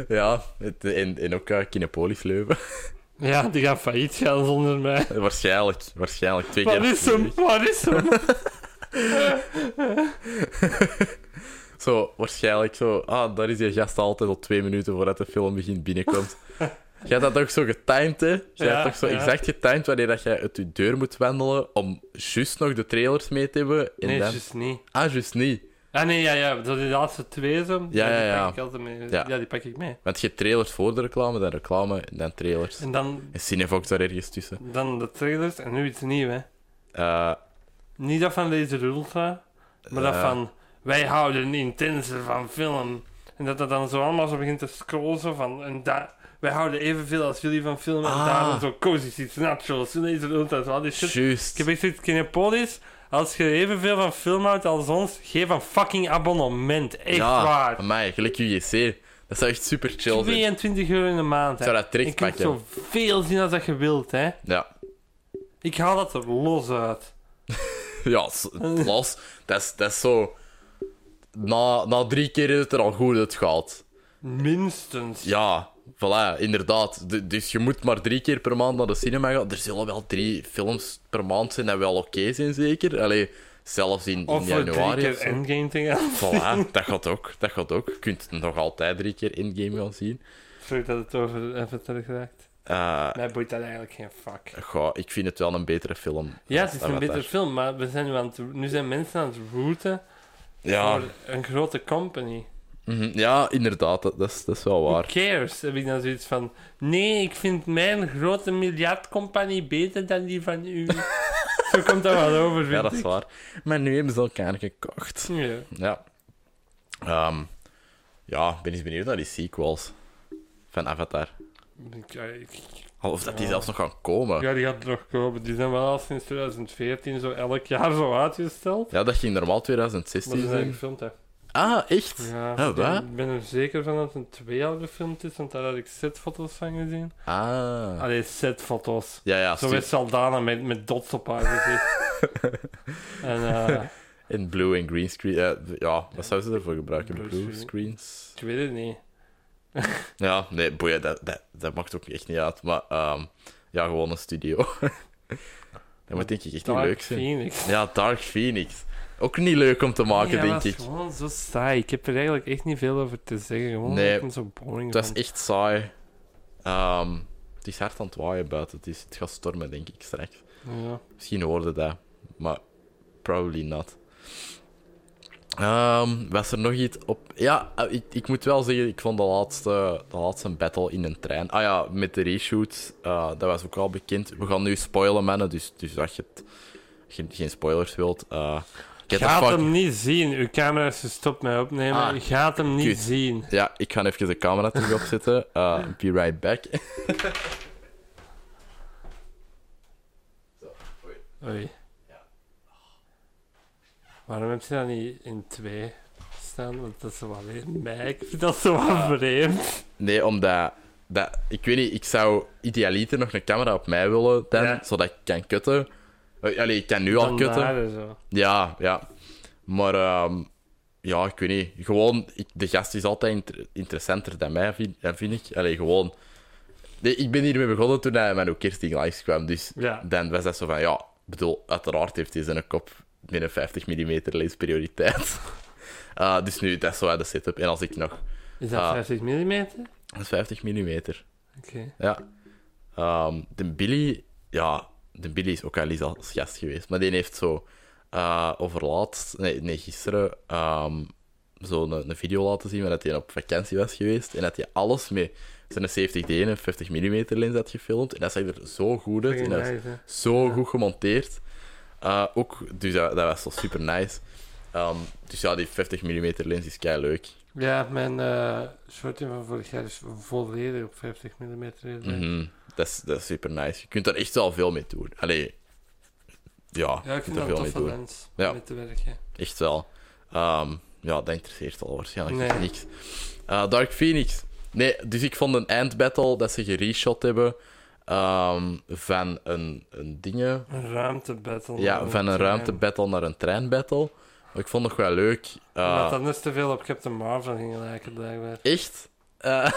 A: Ja, het, en, en ook eh, Kinepolis Leuven.
B: ja, die gaan failliet gaan zonder mij.
A: Waarschijnlijk, waarschijnlijk. Twee
B: Wat
A: keer.
B: is hem? Wat is hem?
A: Zo, waarschijnlijk zo. Ah, daar is die gast altijd al twee minuten voordat de film begint binnenkomt. Jij hebt dat ook zo getimed, hè? Jij
B: Ja,
A: hebt toch zo
B: ja.
A: exact getimed wanneer dat jij uit je deur moet wandelen om juist nog de trailers mee te hebben. En
B: Nee,
A: dan...
B: juist niet.
A: Ah, juist niet.
B: Ah nee, ja, ja. Dat is de laatste twee zo.
A: Ja, ja,
B: Die
A: ja.
B: pak ik altijd mee. Ja.
A: Ja.
B: die pak ik mee.
A: Want je hebt trailers voor de reclame, dan reclame en dan trailers.
B: En dan,
A: En Cinevox daar ergens tussen.
B: dan de trailers en nu iets nieuws, hè.
A: Eh,
B: Niet dat van Laser Ultra, maar dat
A: eh,
B: van... Wij houden intenser van film. En dat dat dan zo allemaal zo begint te scrollen zo van... En da- wij houden evenveel als jullie van film. En
A: Ah.
B: daarom zo cozy seats, nachos, Laser Ultra, zo al die shit. Ik
A: Juist.
B: heb echt zoiets Kinepolis. Als je evenveel van film houdt als ons, geef een fucking abonnement. Echt
A: Ja,
B: waar.
A: amai, gelijk UGC. Dat zou echt super chill zijn.
B: 22 euro in de maand.
A: Ik
B: Hè.
A: zou dat
B: je
A: direct
B: kunt
A: pakken.
B: zoveel zien als dat je wilt. Hè.
A: Ja.
B: Ik haal dat er los uit.
A: Ja, s- los. Dat is, dat is zo. Na, na drie keer is het er al goed uitgehaald.
B: Minstens.
A: Ja, voilà, inderdaad. D- dus je moet maar drie keer per maand naar de cinema gaan. Er zullen wel drie films per maand zijn dat wel oké zijn, zeker. Allee, zelfs in, in
B: Of voor drie
A: januari. of
B: keer
A: zo.
B: endgame te gaan.
A: Voilà, dat gaat ook. Dat gaat ook. Je kunt nog altijd drie keer in-game gaan zien.
B: Sorry dat het over even terug raakt.
A: Eh,
B: Mij boeit dat eigenlijk geen fuck.
A: goh, ik vind het wel een betere film.
B: Ja, het is een
A: Avatar.
B: beter film, maar we zijn nu, aan het, nu zijn mensen aan het routen
A: Ja,
B: voor een grote company.
A: mhm, ja inderdaad, dat, dat, is, dat is wel waar.
B: Who cares? Heb ik dan zoiets van... Nee, ik vind mijn grote miljardcompagnie beter dan die van u. Zo komt dat wel over, vind
A: Ja, dat is
B: ik.
A: waar. Maar nu hebben ze elkaar gekocht.
B: Ja.
A: Ja. Ehm, ja, ik ben eens benieuwd naar die sequels van Avatar.
B: Ik- ik-
A: Al Of dat die
B: Ja.
A: zelfs nog gaan komen. Ja.
B: Ja, die gaat er nog komen. Die zijn wel al sinds 2014 zo elk jaar zo uitgesteld.
A: dat ging normaal
B: Maar die
A: 2016
B: zijn
A: zijn.
B: gefilmd, hè.
A: Ah, echt?
B: Ja,
A: Ah, wat?
B: ik ben er zeker van dat het een twee jaar gefilmd is, want daar had ik setfoto's van gezien.
A: Ah.
B: Allee, setfoto's.
A: Ja, ja,
B: Zo
A: stuur-
B: is Saldana met, met dots op haar gezicht. en eh,
A: in blue en green screen. eh, ja, wat zouden ze ervoor gebruiken?
B: Blue
A: Blue,
B: screen.
A: screens?
B: ik weet het niet.
A: Ja, nee, boeien, dat, dat, dat maakt ook echt niet uit. Maar ehm, ja, gewoon een studio. Dat moet denk ik echt niet
B: Dark
A: leuk zijn.
B: Phoenix.
A: Ja, Dark Phoenix. Ook niet leuk om te maken,
B: Ja,
A: denk
B: dat is
A: ik.
B: gewoon zo saai. Ik heb er eigenlijk echt niet veel over te zeggen. Gewoon omdat
A: Nee,
B: ik hem zo boring
A: Het was
B: vond.
A: echt saai. Ehm, het is hard aan het waaien buiten. Het, is, het gaat stormen, denk ik, straks.
B: Ja.
A: Misschien hoorde dat, maar probably not. Ehm, was er nog iets op... Ja, eh, ik, ik moet wel zeggen, ik vond de laatste, de laatste battle in een trein... Ah ja, met de reshoot, eh, dat was ook al bekend. We gaan nu spoilen, mannen, dus, dus als je het, geen, geen spoilers wilt... eh get the
B: Gaat
A: fuck-
B: hem niet zien. Uw camera is gestopt met opnemen.
A: Ah,
B: Gaat hem niet
A: kut.
B: zien.
A: Ja, ik ga even de camera terug opzetten. Eh, be right back.
B: Oei. Waarom heb je dat niet in twee staan? Want dat is wel weer mij. Ik vind dat zo wat vreemd.
A: Nee, omdat... Dat, ik weet niet, ik zou idealiter nog een camera op mij willen, dan,
B: Ja.
A: zodat ik kan kutten. Eh, Allee, ik kan nu al
B: Dan eh,
A: kutten.
B: daar en zo.
A: Ja, ja. Maar ehm, ja, ik weet niet. Gewoon, ik- de gast is altijd inter- interessanter dan mij, vind, eh, vind ik. Allee, gewoon... Nee, ik ben hiermee begonnen toen hij met ook Kersting Lives kwam, dus
B: Ja.
A: dan was dat zo van, ja, ik bedoel, uiteraard heeft hij zijn kop binnen 50 mm leesprioriteit. Eh dus nu, dat is zo uit de setup. En als ik nog...
B: Is dat
A: Ah.
B: 50 mm? Oké.
A: Dat is 50 mm. Ja. Ehm, de Billy, ja, de Billy is ook al eens als gast geweest, maar die heeft zo eh overlaatst, nee, nee gisteren, ehm, zo een, een video laten zien waar dat hij op vakantie was geweest en dat hij alles met zijn 70D en een 50 mm lens had gefilmd en dat zag er zo goed uit en dat was
B: Oké.
A: zo goed gemonteerd. Eh, ook, dus dat, dat was zo super nice. Ehm, dus ja, die 50 mm lens is kei leuk.
B: Ja, mijn eh shorty van vorig jaar is volledig op 50 mm.
A: Mhm. Dat, is, dat is super nice. Je kunt daar echt wel veel mee doen. Allee, ja,
B: Ja,
A: je
B: ik
A: kunt
B: vind
A: er veel mee
B: dat een toffe
A: doen.
B: lens
A: Ja.
B: om mee te werken.
A: Echt wel. Ehm, ja, dat interesseert al waarschijnlijk echt
B: Nee.
A: niks. Eh, Dark Phoenix. Nee, dus ik vond een eindbattle dat ze gereshot hebben ehm, van een, een dingen.
B: Een ruimtebattle.
A: Ja, van een
B: ruimtebattle.
A: ruimtebattle naar een treinbattle. Maar ik vond het nog wel leuk. Eh,
B: Omdat dat net te veel op Captain Marvel ging lijken, blijkbaar.
A: Echt? Eh,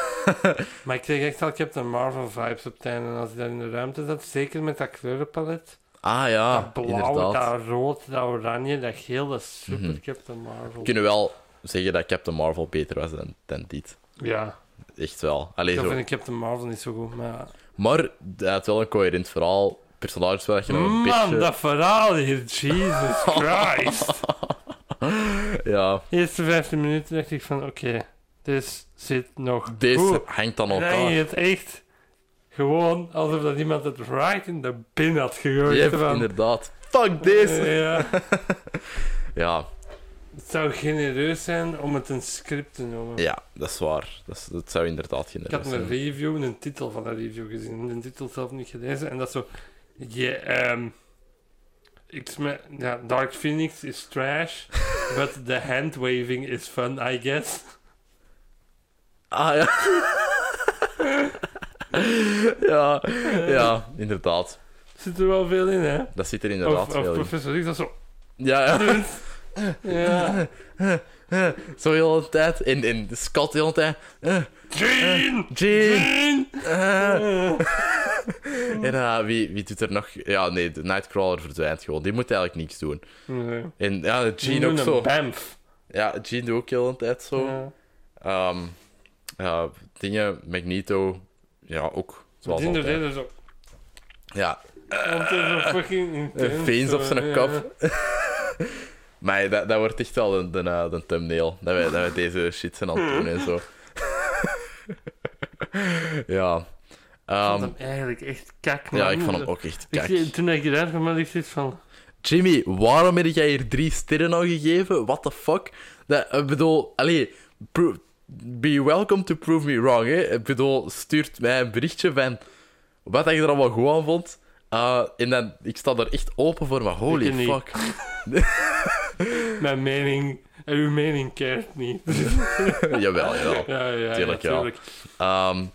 B: Maar ik kreeg echt al Captain Marvel vibes op het einde. En als hij daar in de ruimte zat, zeker met dat kleurenpalet.
A: ah ja,
B: dat blauw,
A: inderdaad.
B: dat rood, dat oranje, dat geel, dat is super Captain Marvel.
A: We kunnen wel zeggen dat Captain Marvel beter was dan, dan dit.
B: Ja,
A: Echt wel. Allee,
B: dat
A: zo.
B: vind ik Captain Marvel niet zo goed, maar...
A: Maar hij had wel een coherent verhaal. Personages waar je nog een
B: Man,
A: beetje...
B: dat verhaal hier, Jesus Christ.
A: Ja,
B: eerste 15 minuten dacht ik van, oké, dit zit nog
A: deze
B: goed.
A: hangt aan
B: En dan ging
A: elkaar.
B: het echt gewoon alsof dat iemand het right in de bin had gegooid.
A: Yep,
B: van,
A: inderdaad. Fuck this!
B: Ja,
A: Ja,
B: het zou genereus zijn om het een script te noemen.
A: ja, dat is waar. Dat, is- dat zou inderdaad geen
B: Ik had
A: rest
B: een
A: zijn.
B: review, een titel van een review gezien, de titel zelf niet gelezen. En dat zo, je, ehm, X-Men- ja, Dark Phoenix is trash, but the handwaving is fun, I guess.
A: Ah, ja. ja. Ja, inderdaad.
B: Zit er wel veel in, hè?
A: Dat zit er
B: Of,
A: inderdaad
B: of
A: veel in.
B: Professor X, dat zo...
A: Ja, ja.
B: Ja.
A: Zo heel de tijd. En, en Scott heel de tijd. eh,
B: Jean!
A: Jean!
B: Jean!
A: eh.
B: Eh,
A: En eh, wie, wie doet er nog... Ja, nee, de Nightcrawler verdwijnt gewoon. Die moet eigenlijk niks doen.
B: nee.
A: En ja, de
B: Die
A: Jean
B: doen
A: ook
B: een
A: zo.
B: Bamf.
A: Ja, Jean doet ook heel een tijd zo.
B: Ja.
A: Ehm, ja, dingen, Magneto, ja, ook. Zoals
B: Die doen
A: altijd.
B: er zo...
A: Ja,
B: Want het is zo fucking
A: een
B: intens,
A: veens op
B: zo,
A: zijn
B: ja.
A: kop. maar dat, dat wordt echt wel een, een, eh, een thumbnail, dat wij, dat wij deze shit zijn aan het doen en zo. ja.
B: Ik vond
A: Ehm,
B: hem eigenlijk echt kak,
A: ja,
B: man.
A: ik vond hem ook echt
B: Ik-
A: kak.
B: toen ik eruit kwam, had ik zoiets van...
A: Jimmy, waarom heb jij hier drie sterren aan gegeven? What the fuck? Dat, ik bedoel, allee, pro- be welcome to prove me wrong, hè. Ik bedoel, stuurt mij een berichtje van wat dat je er allemaal goed aan vond. Eh, en dan, ik sta er echt open voor, maar holy
B: Ik niet.
A: fuck.
B: Mijn mening... En uw mening keert niet.
A: jawel, jawel.
B: Ja, ja,
A: Tuurlijk,
B: natuurlijk.
A: ja.
B: ja. tuurlijk.
A: Ehm,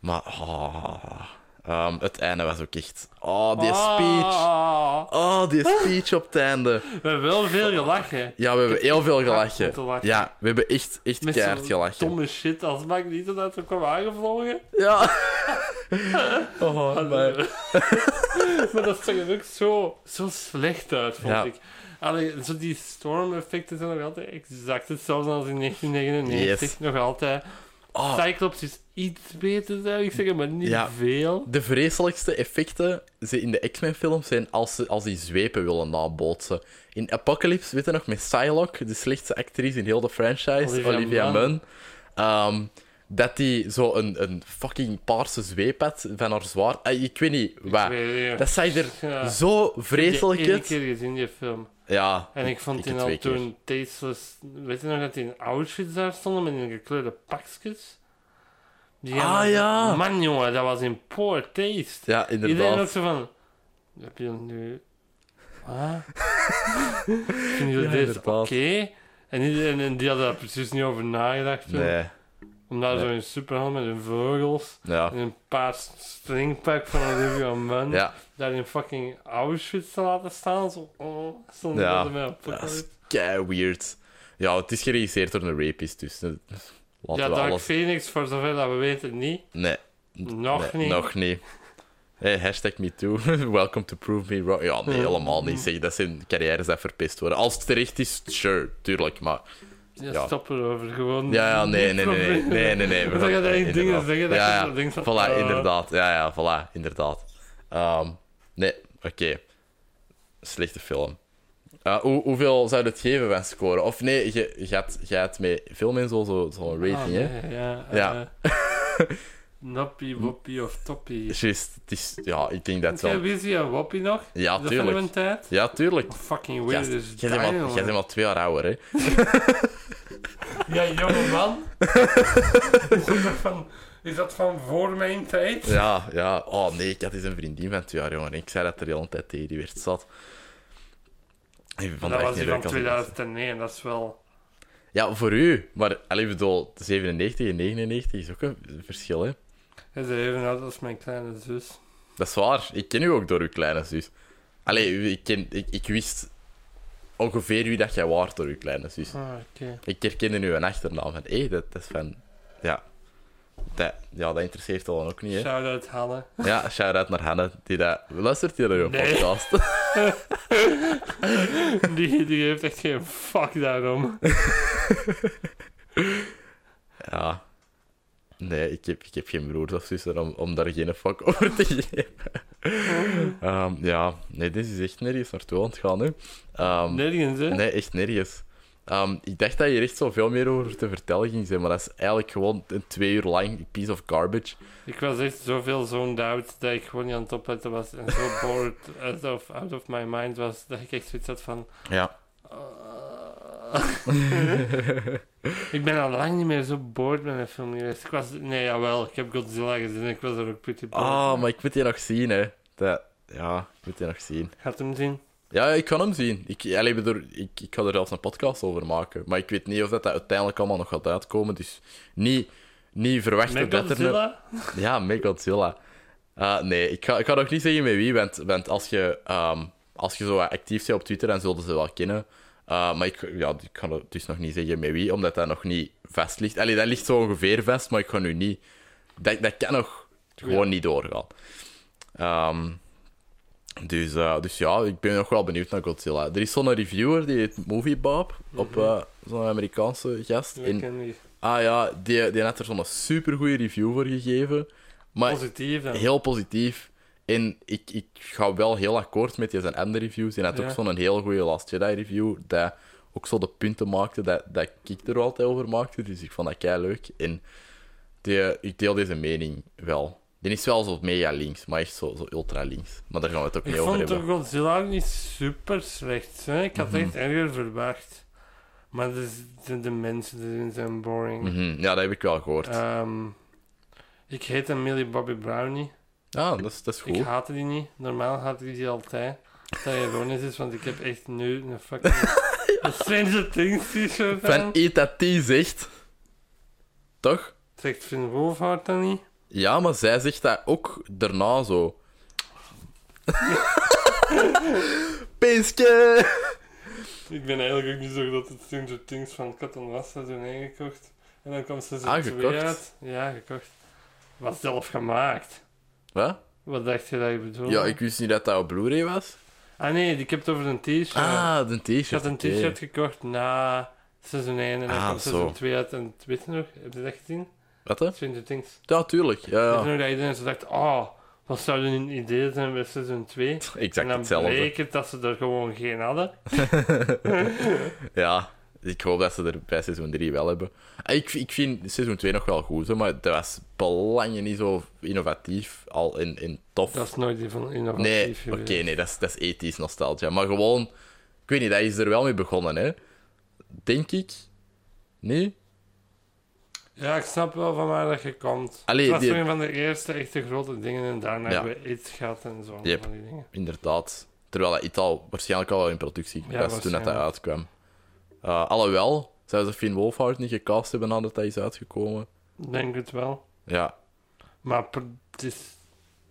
A: maar, ah, ehm, het einde was ook echt... Oh, die speech.
B: Ah,
A: Oh, die speech op het einde.
B: we hebben wel veel gelachen.
A: Ja, we hebben heel veel
B: hard
A: gelachen.
B: moeten lachen.
A: Ja, we hebben echt, echt
B: Met
A: keihard
B: zo'n
A: gelachen.
B: Domme shit als Magneto dat er kwam aangevlogen.
A: Ja. Oh, maar...
B: maar dat zag er ook zo, zo slecht uit, vond
A: Ja.
B: ik. Allee, zo die storm-effecten zijn nog altijd exact hetzelfde als in 1999.
A: Yes.
B: Nog altijd.
A: Oh,
B: Cyclops is iets beter, zou ik zeggen, maar niet
A: Ja.
B: veel.
A: de vreselijkste effecten ze- in de X-Men-films zijn als, ze, als die zwepen willen nabootsen. In Apocalypse, weet je nog, met Psylocke, de slechtste actrice in heel de franchise,
B: Olivia
A: Olivia,
B: Munn.
A: Munn, ehm, dat die zo een, een fucking paarse zweep had van haar zwaard. Eh, ik weet niet, wat.
B: weet niet.
A: Dat zei er
B: Ja.
A: zo vreselijk
B: Ik heb die
A: uit.
B: één keer gezien, die film.
A: Ja.
B: En ik vond
A: Ik
B: die
A: heb
B: al
A: twee keer.
B: toen tasteless... Weet je nog dat die in outfits daar stonden met die gekleurde pakjes? Die
A: Ah,
B: hadden-
A: ja.
B: Man, jongen, dat was in poor taste.
A: Ja,
B: Iedereen had
A: inderdaad.
B: zo van... Heb je dat nu... Ah? Vind je
A: Ja,
B: dit oké?
A: inderdaad.
B: En, iedereen- en die hadden daar precies niet over nagedacht. toen.
A: Nee.
B: Om daar
A: Nee.
B: zo in superhand met hun vogels...
A: Ja.
B: En een paars stringpak van Olivia Munn.
A: Ja.
B: Daar in fucking Auschwitz te laten staan. Zo, oh, zonder
A: Ja.
B: dat er mij op
A: Dat is kei weird. Ja, het is geregisseerd door een rapist, dus eh, laten
B: Ja,
A: we
B: Dark
A: alles...
B: Phoenix, voor zover dat we weten, niet.
A: Nee.
B: Nog
A: Nee,
B: niet.
A: Nog niet. Hey, hashtag me too. Welcome to prove me wrong. Ja, nee, helemaal niet. Zeg, dat zijn carrières die verpest worden. Als het terecht is, sure, tuurlijk, maar...
B: Ja,
A: ja.
B: Stop erover, gewoon.
A: Ja, ja, nee, nee, nee, nee, nee, nee, nee. we
B: Dan
A: gaan-
B: ga je daar echt dingen
A: inderdaad.
B: zeggen dat
A: ja,
B: je zo denkt van...
A: Voilà,
B: eh,
A: inderdaad. Ja, ja, voilà, inderdaad. Ehm, nee, oké. Slechte film. Eh, hoe, hoeveel zou je het geven van scoren? Of nee, je, je, had, je had met veel mensen zo'n zo rating,
B: ah,
A: hè?
B: nee, Ja.
A: Ja.
B: eh, Noppie, woppie of toppie.
A: Juist, het is... Ja, ik denk dat
B: Heb jij
A: wel...
B: Wizzy en Woppie nog?
A: Ja,
B: Is dat van
A: tuurlijk.
B: een tijd? Oh,
A: Ja, tuurlijk.
B: Fucking
A: Jij
B: weird
A: jij
B: is
A: bent maar- jij bent maar twee jaar ouder, hè?
B: Ja, jonge man. is, dat van, is dat van voor mijn tijd?
A: Ja, ja. Oh nee, ik had eens een vriendin van twee jaar jonger. Ik zei dat er de hele tijd tegen, die werd zat. Ik vond
B: dat
A: echt
B: was
A: niet
B: die
A: leuk
B: van
A: als ik-
B: 2009, dat is wel...
A: Ja, voor u. Maar, allee, ik bedoel, 97 en 99 is ook een verschil, hè.
B: Hij is even oud als mijn kleine zus.
A: Dat is waar. Ik ken u ook door uw kleine zus. Allee, u- ik, ken, ik, ik wist ongeveer wie dat jij waart door uw kleine zus.
B: Ah, oké.
A: Ik herkende nu een achternaam van, hé, dat, dat is van... Ja. Dat, ja, dat interesseert al ook niet, hè.
B: Shout-out Hanne.
A: Ja, shout-out naar Hanne, die dat... Luistert die naar uw
B: Nee.
A: podcast?
B: Die, die heeft echt geen fuck daarom.
A: Ja. Nee, ik heb, ik heb geen broers of zussen om, om daar geen fuck over te geven. Ehm, ja, nee, dit is echt nergens naartoe aan het gaan, hè. Ehm, nee.
B: Nergens, hè?
A: echt nergens. Ehm, ik dacht dat je er echt zoveel meer over te vertellen ging zijn, maar dat is eigenlijk gewoon een twee uur lang piece of garbage.
B: Ik was echt zoveel zoned out dat ik gewoon niet aan het opletten was. En zo bored out of, out of my mind was dat ik echt zoiets had van...
A: Ja.
B: Eh. ik ben al lang niet meer zo bored met een film geweest. Ik was... Nee, jawel. Ik heb Godzilla gezien en ik was er ook pretty bored.
A: Ah, maar ik moet die nog zien, hè. Dat, ja, ik moet die nog zien.
B: Gaat hem zien?
A: Ja, ik kan hem zien. Ik, allee, bedoel, ik, ik ga er zelfs een podcast over maken. Maar ik weet niet of dat, dat uiteindelijk allemaal nog gaat uitkomen. Dus niet, niet verwachten
B: Met
A: dat er... een-
B: Godzilla?
A: Ja, met Godzilla. Eh, nee, ik ga, ik ga nog niet zeggen met wie, want, want als, je, ehm, als je zo wat actief bent op Twitter, dan zullen ze wel kennen. Eh, maar ik, ja, ik kan het dus nog niet zeggen met wie, omdat dat nog niet vast ligt. Allee, dat ligt zo ongeveer vast, maar ik ga nu niet... Dat, dat kan nog gewoon niet doorgaan. Ehm, dus, eh, dus ja, ik ben nog wel benieuwd naar Godzilla. Er is zo'n reviewer, die heet Moviebob, op eh, zo'n Amerikaanse gast.
B: Mhm. Ik
A: En,
B: ken die.
A: ah ja, die, die had er zo'n supergoeie review voor gegeven. Maar
B: Positief dan.
A: heel positief. En ik, ik ga wel heel akkoord met die zijn andere reviews. En hij had
B: Ja.
A: ook zo'n heel goede Last Jedi review. Dat ook zo de punten maakte dat, dat ik er altijd over maakte. Dus ik vond dat kei leuk. En die, ik deel deze mening wel. Die is wel zo mega links, maar echt zo, zo ultra links. Maar daar gaan we het ook
B: Ik
A: niet over
B: vond
A: hebben.
B: toch Godzilla ook niet super slecht. Hè? Ik had
A: Mhm.
B: echt erger verwacht. Maar de, de, de mensen erin zijn boring.
A: Mhm, Ja, dat heb ik wel gehoord.
B: Ehm, ik heette Millie Bobby Brown niet.
A: ah, dat is, dat is
B: Ik
A: goed.
B: haatte die niet. Normaal haatte ik die altijd. Dat ironisch is, want ik heb echt nu een fucking een Stranger Things t-shirt
A: Van
B: aan.
A: eet dat die zegt... Toch?
B: Zegt Finn Wolfhard dat niet?
A: Ja, maar zij zegt dat ook daarna zo. Peeske!
B: Ik ben eigenlijk ook niet zo dat het Stranger Things van Kat en Was had toen ingekocht. En dan kwam seizoen
A: Ah,
B: 2
A: gekocht?
B: uit. Ja, gekocht. Was zelf gemaakt.
A: Wat?
B: Wat dacht je dat ik bedoelde?
A: Ja, ik wist niet dat dat op Blu-ray was.
B: Ah nee, ik heb het over een t-shirt.
A: Ah, de t-shirt.
B: ik had een
A: oké.
B: t-shirt gekocht na seizoen 1 en dan
A: Ah,
B: kwam
A: zo.
B: seizoen 2 uit. En het- weet je nog, heb je dat gezien?
A: Wat hè?
B: Stranger Things.
A: Ja, tuurlijk. Ja,
B: Weet je
A: ja.
B: nog dat iedereen zo dacht, oh, wat zou hun idee zijn bij seizoen 2? en
A: exact
B: dan
A: hetzelfde.
B: bleek het dat ze er gewoon geen hadden.
A: Ja, ik hoop dat ze er bij seizoen 3 wel hebben. Ah, Ik, ik vind seizoen 2 nog wel goed, hè, maar dat was belangen niet zo innovatief al in, in tof.
B: Dat is nooit die van
A: Nee,
B: innovatief
A: oké,
B: geweest.
A: nee, dat is, dat is ethisch nostalgia. Maar gewoon, ik weet niet, dat is er wel mee begonnen, hè? Denk ik. Nee?
B: Ja, ik snap wel van waar dat je komt.
A: Allee,
B: het was
A: die-
B: een van de eerste echte grote dingen en daarna
A: Ja.
B: hebben we iets gehad en zo.
A: Yep.
B: Van die dingen.
A: Inderdaad. Terwijl dat iets al waarschijnlijk al wel in productie
B: Ja,
A: was toen dat, dat
B: waarschijnlijk.
A: uitkwam. Eh, alhoewel, zouden ze Finn Wolfhard niet gecast hebben nadat hij is uitgekomen?
B: Ik Denk het wel.
A: Ja,
B: Maar pro- het is-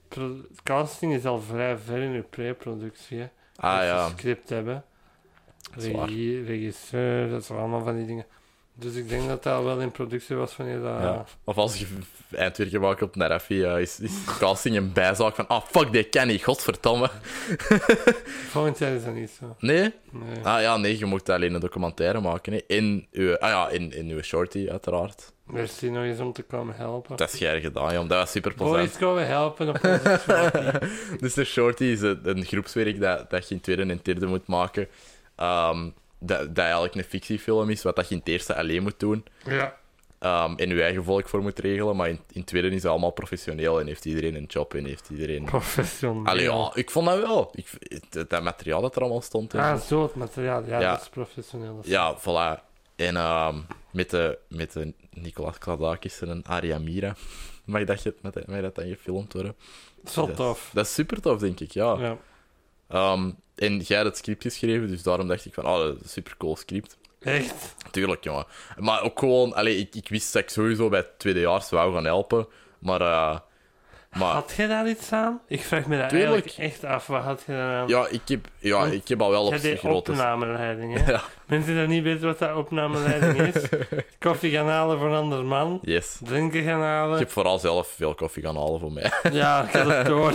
B: pro- casting is al vrij ver in de pre-productie. hè.
A: ah
B: Als ze
A: ja.
B: script hebben.
A: is waar.
B: Regie, regisseur, dat zijn allemaal van die dingen. Dus ik denk dat dat al wel in productie was wanneer dat...
A: Ja. Of als je eindwerk maakt op Narafi, eh, is, is casting een bijzaak van, ah fuck, dit kan niet, godverdamme.
B: Volgend jaar is dat niet zo.
A: Nee?
B: Nee.
A: Ah ja, nee, je mocht alleen een documentaire maken. Hè. In, uw, ah, ja, in, in uw shorty, uiteraard.
B: Merci nog eens om te komen helpen.
A: Dat is jij gedaan, joh. dat was super plezant.
B: Boys, komen helpen op onze shorty.
A: Dus de shorty is een, een groepswerk dat, dat je in tweede en derde moet maken. Ehm, dat, dat eigenlijk een fictiefilm is, wat dat je in het eerste alleen moet doen.
B: Ja.
A: Ehm en je eigen volk voor moet regelen. Maar in, in het tweede is het allemaal professioneel en heeft iedereen een job en heeft iedereen...
B: Professioneel.
A: Allee, ja, ik vond dat wel. Ik, het- dat materiaal dat er allemaal stond. en zo.
B: Ah, zo het materiaal. Ja,
A: Ja.
B: dat is professioneel. Dat is-
A: Ja, voilà. En ehm, met, de, met de Nicolas Kladakis en een Aria Mira. Mag dat, je, met- mag dat dan gefilmd worden?
B: Zo
A: Dat is-
B: tof.
A: Dat is super tof, denk ik, ja.
B: Ja.
A: Ehm, en jij had het script geschreven, dus daarom dacht ik van, oh, dat is een super cool script.
B: Echt?
A: Tuurlijk, jongen. Maar ook gewoon, allee, ik, ik wist dat ik sowieso bij het tweedejaars wou gaan helpen. Maar, eh, maar
B: Had jij daar iets aan? Ik vraag me dat
A: Tuurlijk.
B: eigenlijk echt af. Wat had je daar aan?
A: ja, ik heb, ja,
B: Want
A: ik heb al wel op
B: jij
A: zich
B: deed
A: grote...
B: opnameleiding, hè?
A: Ja.
B: Mensen die niet weten wat dat opnameleiding is. Koffie gaan halen voor een ander man.
A: Yes.
B: Drinken gaan halen.
A: Ik heb vooral zelf veel koffie gaan halen voor mij.
B: Ja, ik had het door.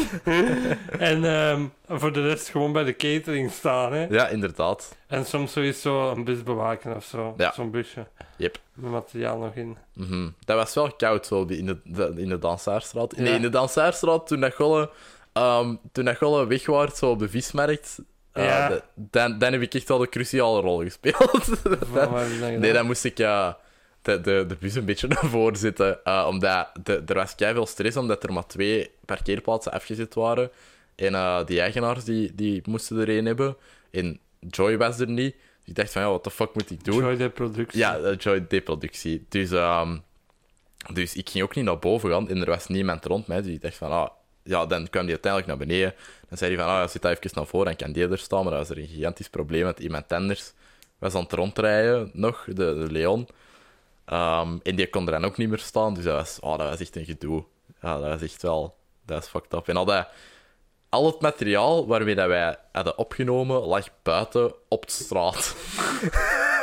B: en ehm, voor de rest gewoon bij de catering staan, hè?
A: Ja, inderdaad.
B: En soms sowieso een bus bewaken of zo.
A: Ja.
B: Zo'n busje.
A: Yep.
B: Met materiaal nog in.
A: Mhm. Dat was wel koud zo die- in de, de- in de Dansaarstraat. Nee,
B: Ja.
A: in de Dansaarstraat toen dat Golle, ehm, toen dat Golle weg was zo op de vismarkt. eh,
B: Ja.
A: de- dan, dan heb ik echt wel de cruciale rol gespeeld.
B: Waar heb je dat gedaan?
A: nee, dan moest ik ja de, de, de bus een beetje naar voren zitten. eh, omdat de, er was veel stress, omdat er maar twee parkeerplaatsen afgezet waren. En eh, die eigenaars die, die moesten er één hebben. En Joy was er niet. Dus ik dacht van, ja, wat de fuck moet ik doen?
B: Enjoy de productie.
A: Ja, de Joy D-productie. Dus, ehm, dus ik ging ook niet naar boven gaan en er was niemand rond mij. Dus ik dacht van, ah, ja, dan kwam die uiteindelijk naar beneden. Dan zei hij van, ah, ja, zit daar even naar voren, dan kan die er staan. Maar dat was er een gigantisch probleem, want iemand anders was aan het rondrijden nog, de, de Leon. Ehm, en die kon er dan ook niet meer staan, dus dat was, oh, dat was echt een gedoe. Ja, dat was echt wel, dat is fucked up. En al, dat, al het materiaal waarmee dat wij hadden opgenomen, lag buiten op de straat.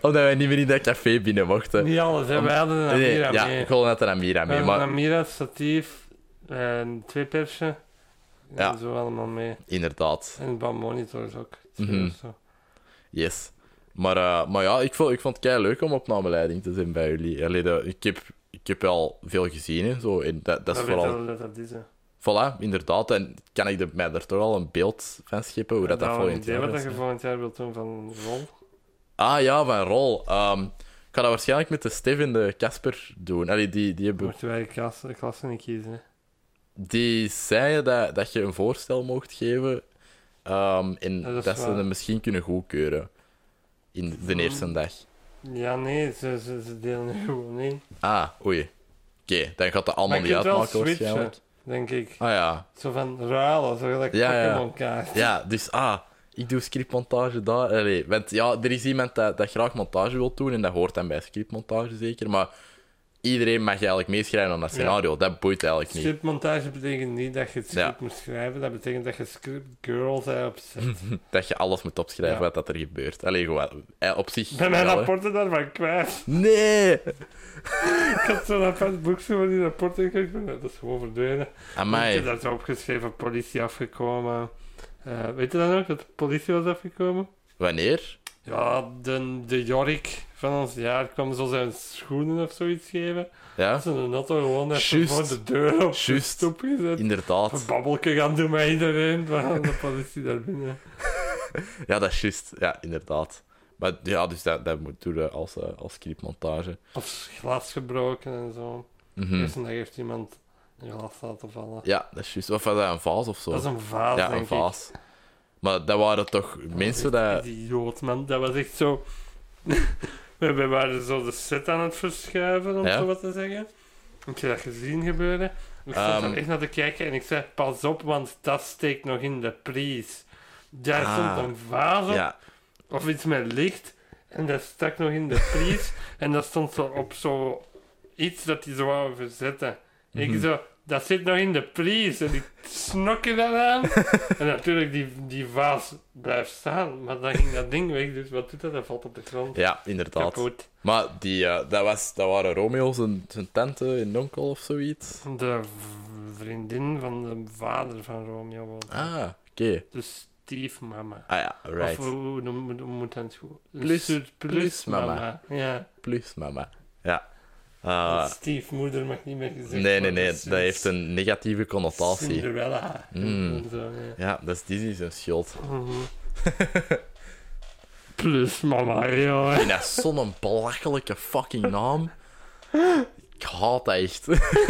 A: Omdat wij niet meer in dat café binnen mochten.
B: Niet alles, hè? Wij hadden een
A: eh, Nee,
B: Amira mee.
A: ja, gewoon net een Amira
B: We
A: mee.
B: hebben een
A: Maar
B: Amira, statief, en twee persen.
A: Ja.
B: En zo allemaal mee.
A: inderdaad,
B: En een paar monitors ook. Twee
A: Mhm.
B: of zo.
A: yes. Maar, eh, maar ja, ik vond, ik vond het kei leuk om opnameleiding te zijn bij jullie. Allee, dat- ik, heb, ik heb wel veel gezien en zo. En dat, dat is
B: Dat weet
A: vooral.
B: wel dat dat is, hè.
A: Voilà, inderdaad. En kan ik er- mij er toch al een beeld van scheppen hoe dat, dat
B: Nou,
A: volgend
B: Een
A: jaar
B: idee wat
A: is.
B: je volgend jaar wilt doen van rol.
A: Ah ja, van rol. Ehm, ik ga dat waarschijnlijk met de Stef en de Casper doen. Allee, die, die, hebben,
B: Mochten wij de klas- de klasse niet kiezen, hè.
A: die zeiden dat, dat je een voorstel mocht geven. ehm, en
B: Ja, dat
A: dat,
B: is
A: ze
B: waar. Hm.
A: het misschien kunnen goedkeuren. In de eerste dag.
B: Ja, nee, ze, ze, ze delen er gewoon in.
A: Ah, oei. Oké, dan gaat dat allemaal
B: Maar je
A: niet
B: kunt wel
A: uitmaken
B: switchen.
A: waarschijnlijk.
B: Denk ik.
A: Ah ja.
B: Zo van ruilen, zo gelijk
A: Ja, ja.
B: Pokémon kaart.
A: Ja, dus ah, ik doe scriptmontage daar. Allee, want ja, er is iemand dat, dat graag montage wil doen en dat hoort dan bij scriptmontage zeker. Maar Iedereen mag eigenlijk meeschrijven aan dat scenario. Dat boeit eigenlijk niet.
B: Scriptmontage betekent niet dat je het script
A: Ja.
B: moet schrijven. Dat betekent dat je script girl zei op set.
A: Dat je alles moet opschrijven
B: Ja.
A: wat dat er gebeurt. Alleen gewoon eh, op zich.
B: Ik ben mijn
A: wel, hè.
B: rapporten daarvan kwijt.
A: Nee!
B: Ik had zo'n apart boekje van die rapporten gekregen. maar Dat is gewoon verdwenen. Ik heb
A: Amai.
B: dat zo opgeschreven, politie afgekomen. Eh, weet je dan ook dat de politie was afgekomen?
A: Wanneer?
B: Ja, de, de Jorik van ons jaar kwam zo zijn schoenen of zoiets geven.
A: Ja?
B: Zijn auto gewoon even
A: Juist.
B: voor de deur op de
A: Juist.
B: stoep gezet. Een
A: Inderdaad.
B: babbelke gaan doen met iedereen, maar de politie daar binnen.
A: Ja, dat is juist. Ja, inderdaad. Maar ja, dus dat, dat moet doen eh, als, eh, als clipmontage.
B: Of glas gebroken en zo.
A: Mhm.
B: Dus dan heeft iemand een glas laten vallen.
A: Ja, dat is juist. Of was dat een vaas of zo?
B: Dat is een vaas,
A: ja,
B: denk
A: een
B: ik.
A: vaas. Maar dat waren toch mensen
B: Dat was
A: dat...
B: echt Idioot, man. Dat was echt zo... we we waren zo de set aan het verschuiven, om
A: Ja.
B: zo wat te zeggen. Heb je dat gezien gebeuren? Ik zat
A: Ehm.
B: er echt naar te kijken en ik zei, pas op, want dat steekt nog in de prijs. Daar
A: Ah.
B: stond een vaas op,
A: Ja,
B: of iets met licht, en dat stak nog in de prijs. en dat stond zo op zo iets dat die zo wou verzetten. En
A: Mhm.
B: Ik zo, dat zit nog in de prijs. En ik snokke dat aan. En natuurlijk, die, die vaas blijft staan, maar dan ging dat ding weg. Dus wat doet dat? Dat valt op de grond.
A: ja, inderdaad.
B: Kapot.
A: Maar die, eh, dat, was, dat waren Romeo's en zijn tante en onkel of zoiets.
B: De v- vriendin van de vader van Romeo. woont.
A: Ah, oké.
B: De stiefmama.
A: Ah ja, right.
B: Of hoe noem- hoe moet dat goed?
A: Plus-
B: plus,
A: plusmama.
B: Ja,
A: Plus, mama. Ja. Eh,
B: want stiefmoeder mag niet meer gezegd
A: nee, nee,
B: worden.
A: nee.
B: Dus
A: Dat heeft een negatieve connotatie.
B: Cinderella.
A: Mm.
B: En zo, ja.
A: Ja, dat is Disney zijn schuld.
B: Mhm. Plus mama, joh.
A: En dat is zo'n belachelijke fucking naam. Ik haat dat echt.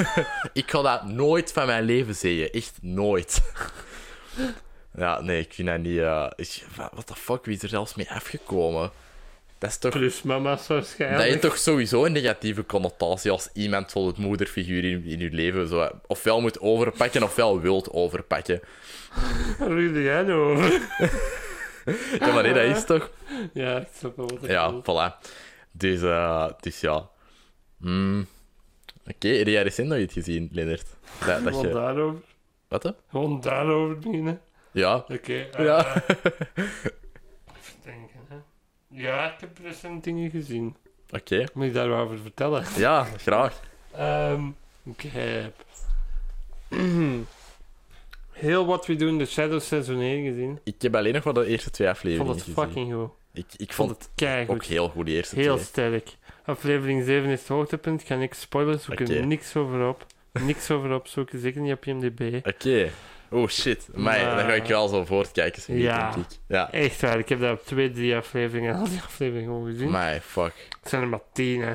A: ik ga dat nooit van mijn leven zeggen. Echt nooit. ja, nee, ik vind dat niet... eh, ik- wa- What the fuck, wie is er zelfs mee afgekomen? Dat is toch...
B: Plus mama's waarschijnlijk.
A: Dat heeft toch sowieso een negatieve connotatie als iemand zo'n moederfiguur in, in je leven zo ofwel moet overpakken ofwel wilt overpakken.
B: Waar doe jij nou over?
A: Ja, maar nee, dat is toch?
B: Ja, ik snap wel wat ik
A: Ja,
B: bedoel.
A: voilà. Dus, eh, dus ja. Hmm. Oké, heb jij recent nog iets gezien, Lennart? Dat, dat
B: Gewoon
A: je...
B: daarover.
A: Wat? hè?
B: Gewoon daarover beginnen.
A: Ja.
B: Oké. eh,
A: Ja.
B: even denken, hè. Ja, ik heb recent dingen gezien.
A: Oké.
B: Moet ik daarover vertellen?
A: Ja, graag.
B: Ehm, ik heb... Heel wat we doen, de Shadow Seizoen 1 gezien.
A: Ik heb alleen nog maar de eerste twee
B: Ik vond
A: afleveringen
B: het fucking goed.
A: gezien. Ik, ik
B: Ik
A: vond
B: vond
A: het
B: het keigoed.
A: ook heel goed, die eerste
B: Heel
A: twee.
B: sterk. Aflevering 7 is het hoogtepunt. Ik ga niks spoilers, we
A: Oké.
B: kunnen niks over op. Niks over opzoeken, zeker niet op IMDb.
A: Oké. Oh shit. Maar
B: Maar-
A: dan ga ik wel zo voortkijken. zo niet,
B: Ja.
A: denk ik. Ja.
B: Echt waar, ik heb dat op twee, drie afleveringen, al die afleveringen gewoon gezien.
A: My fuck.
B: Het zijn er maar tien, hè.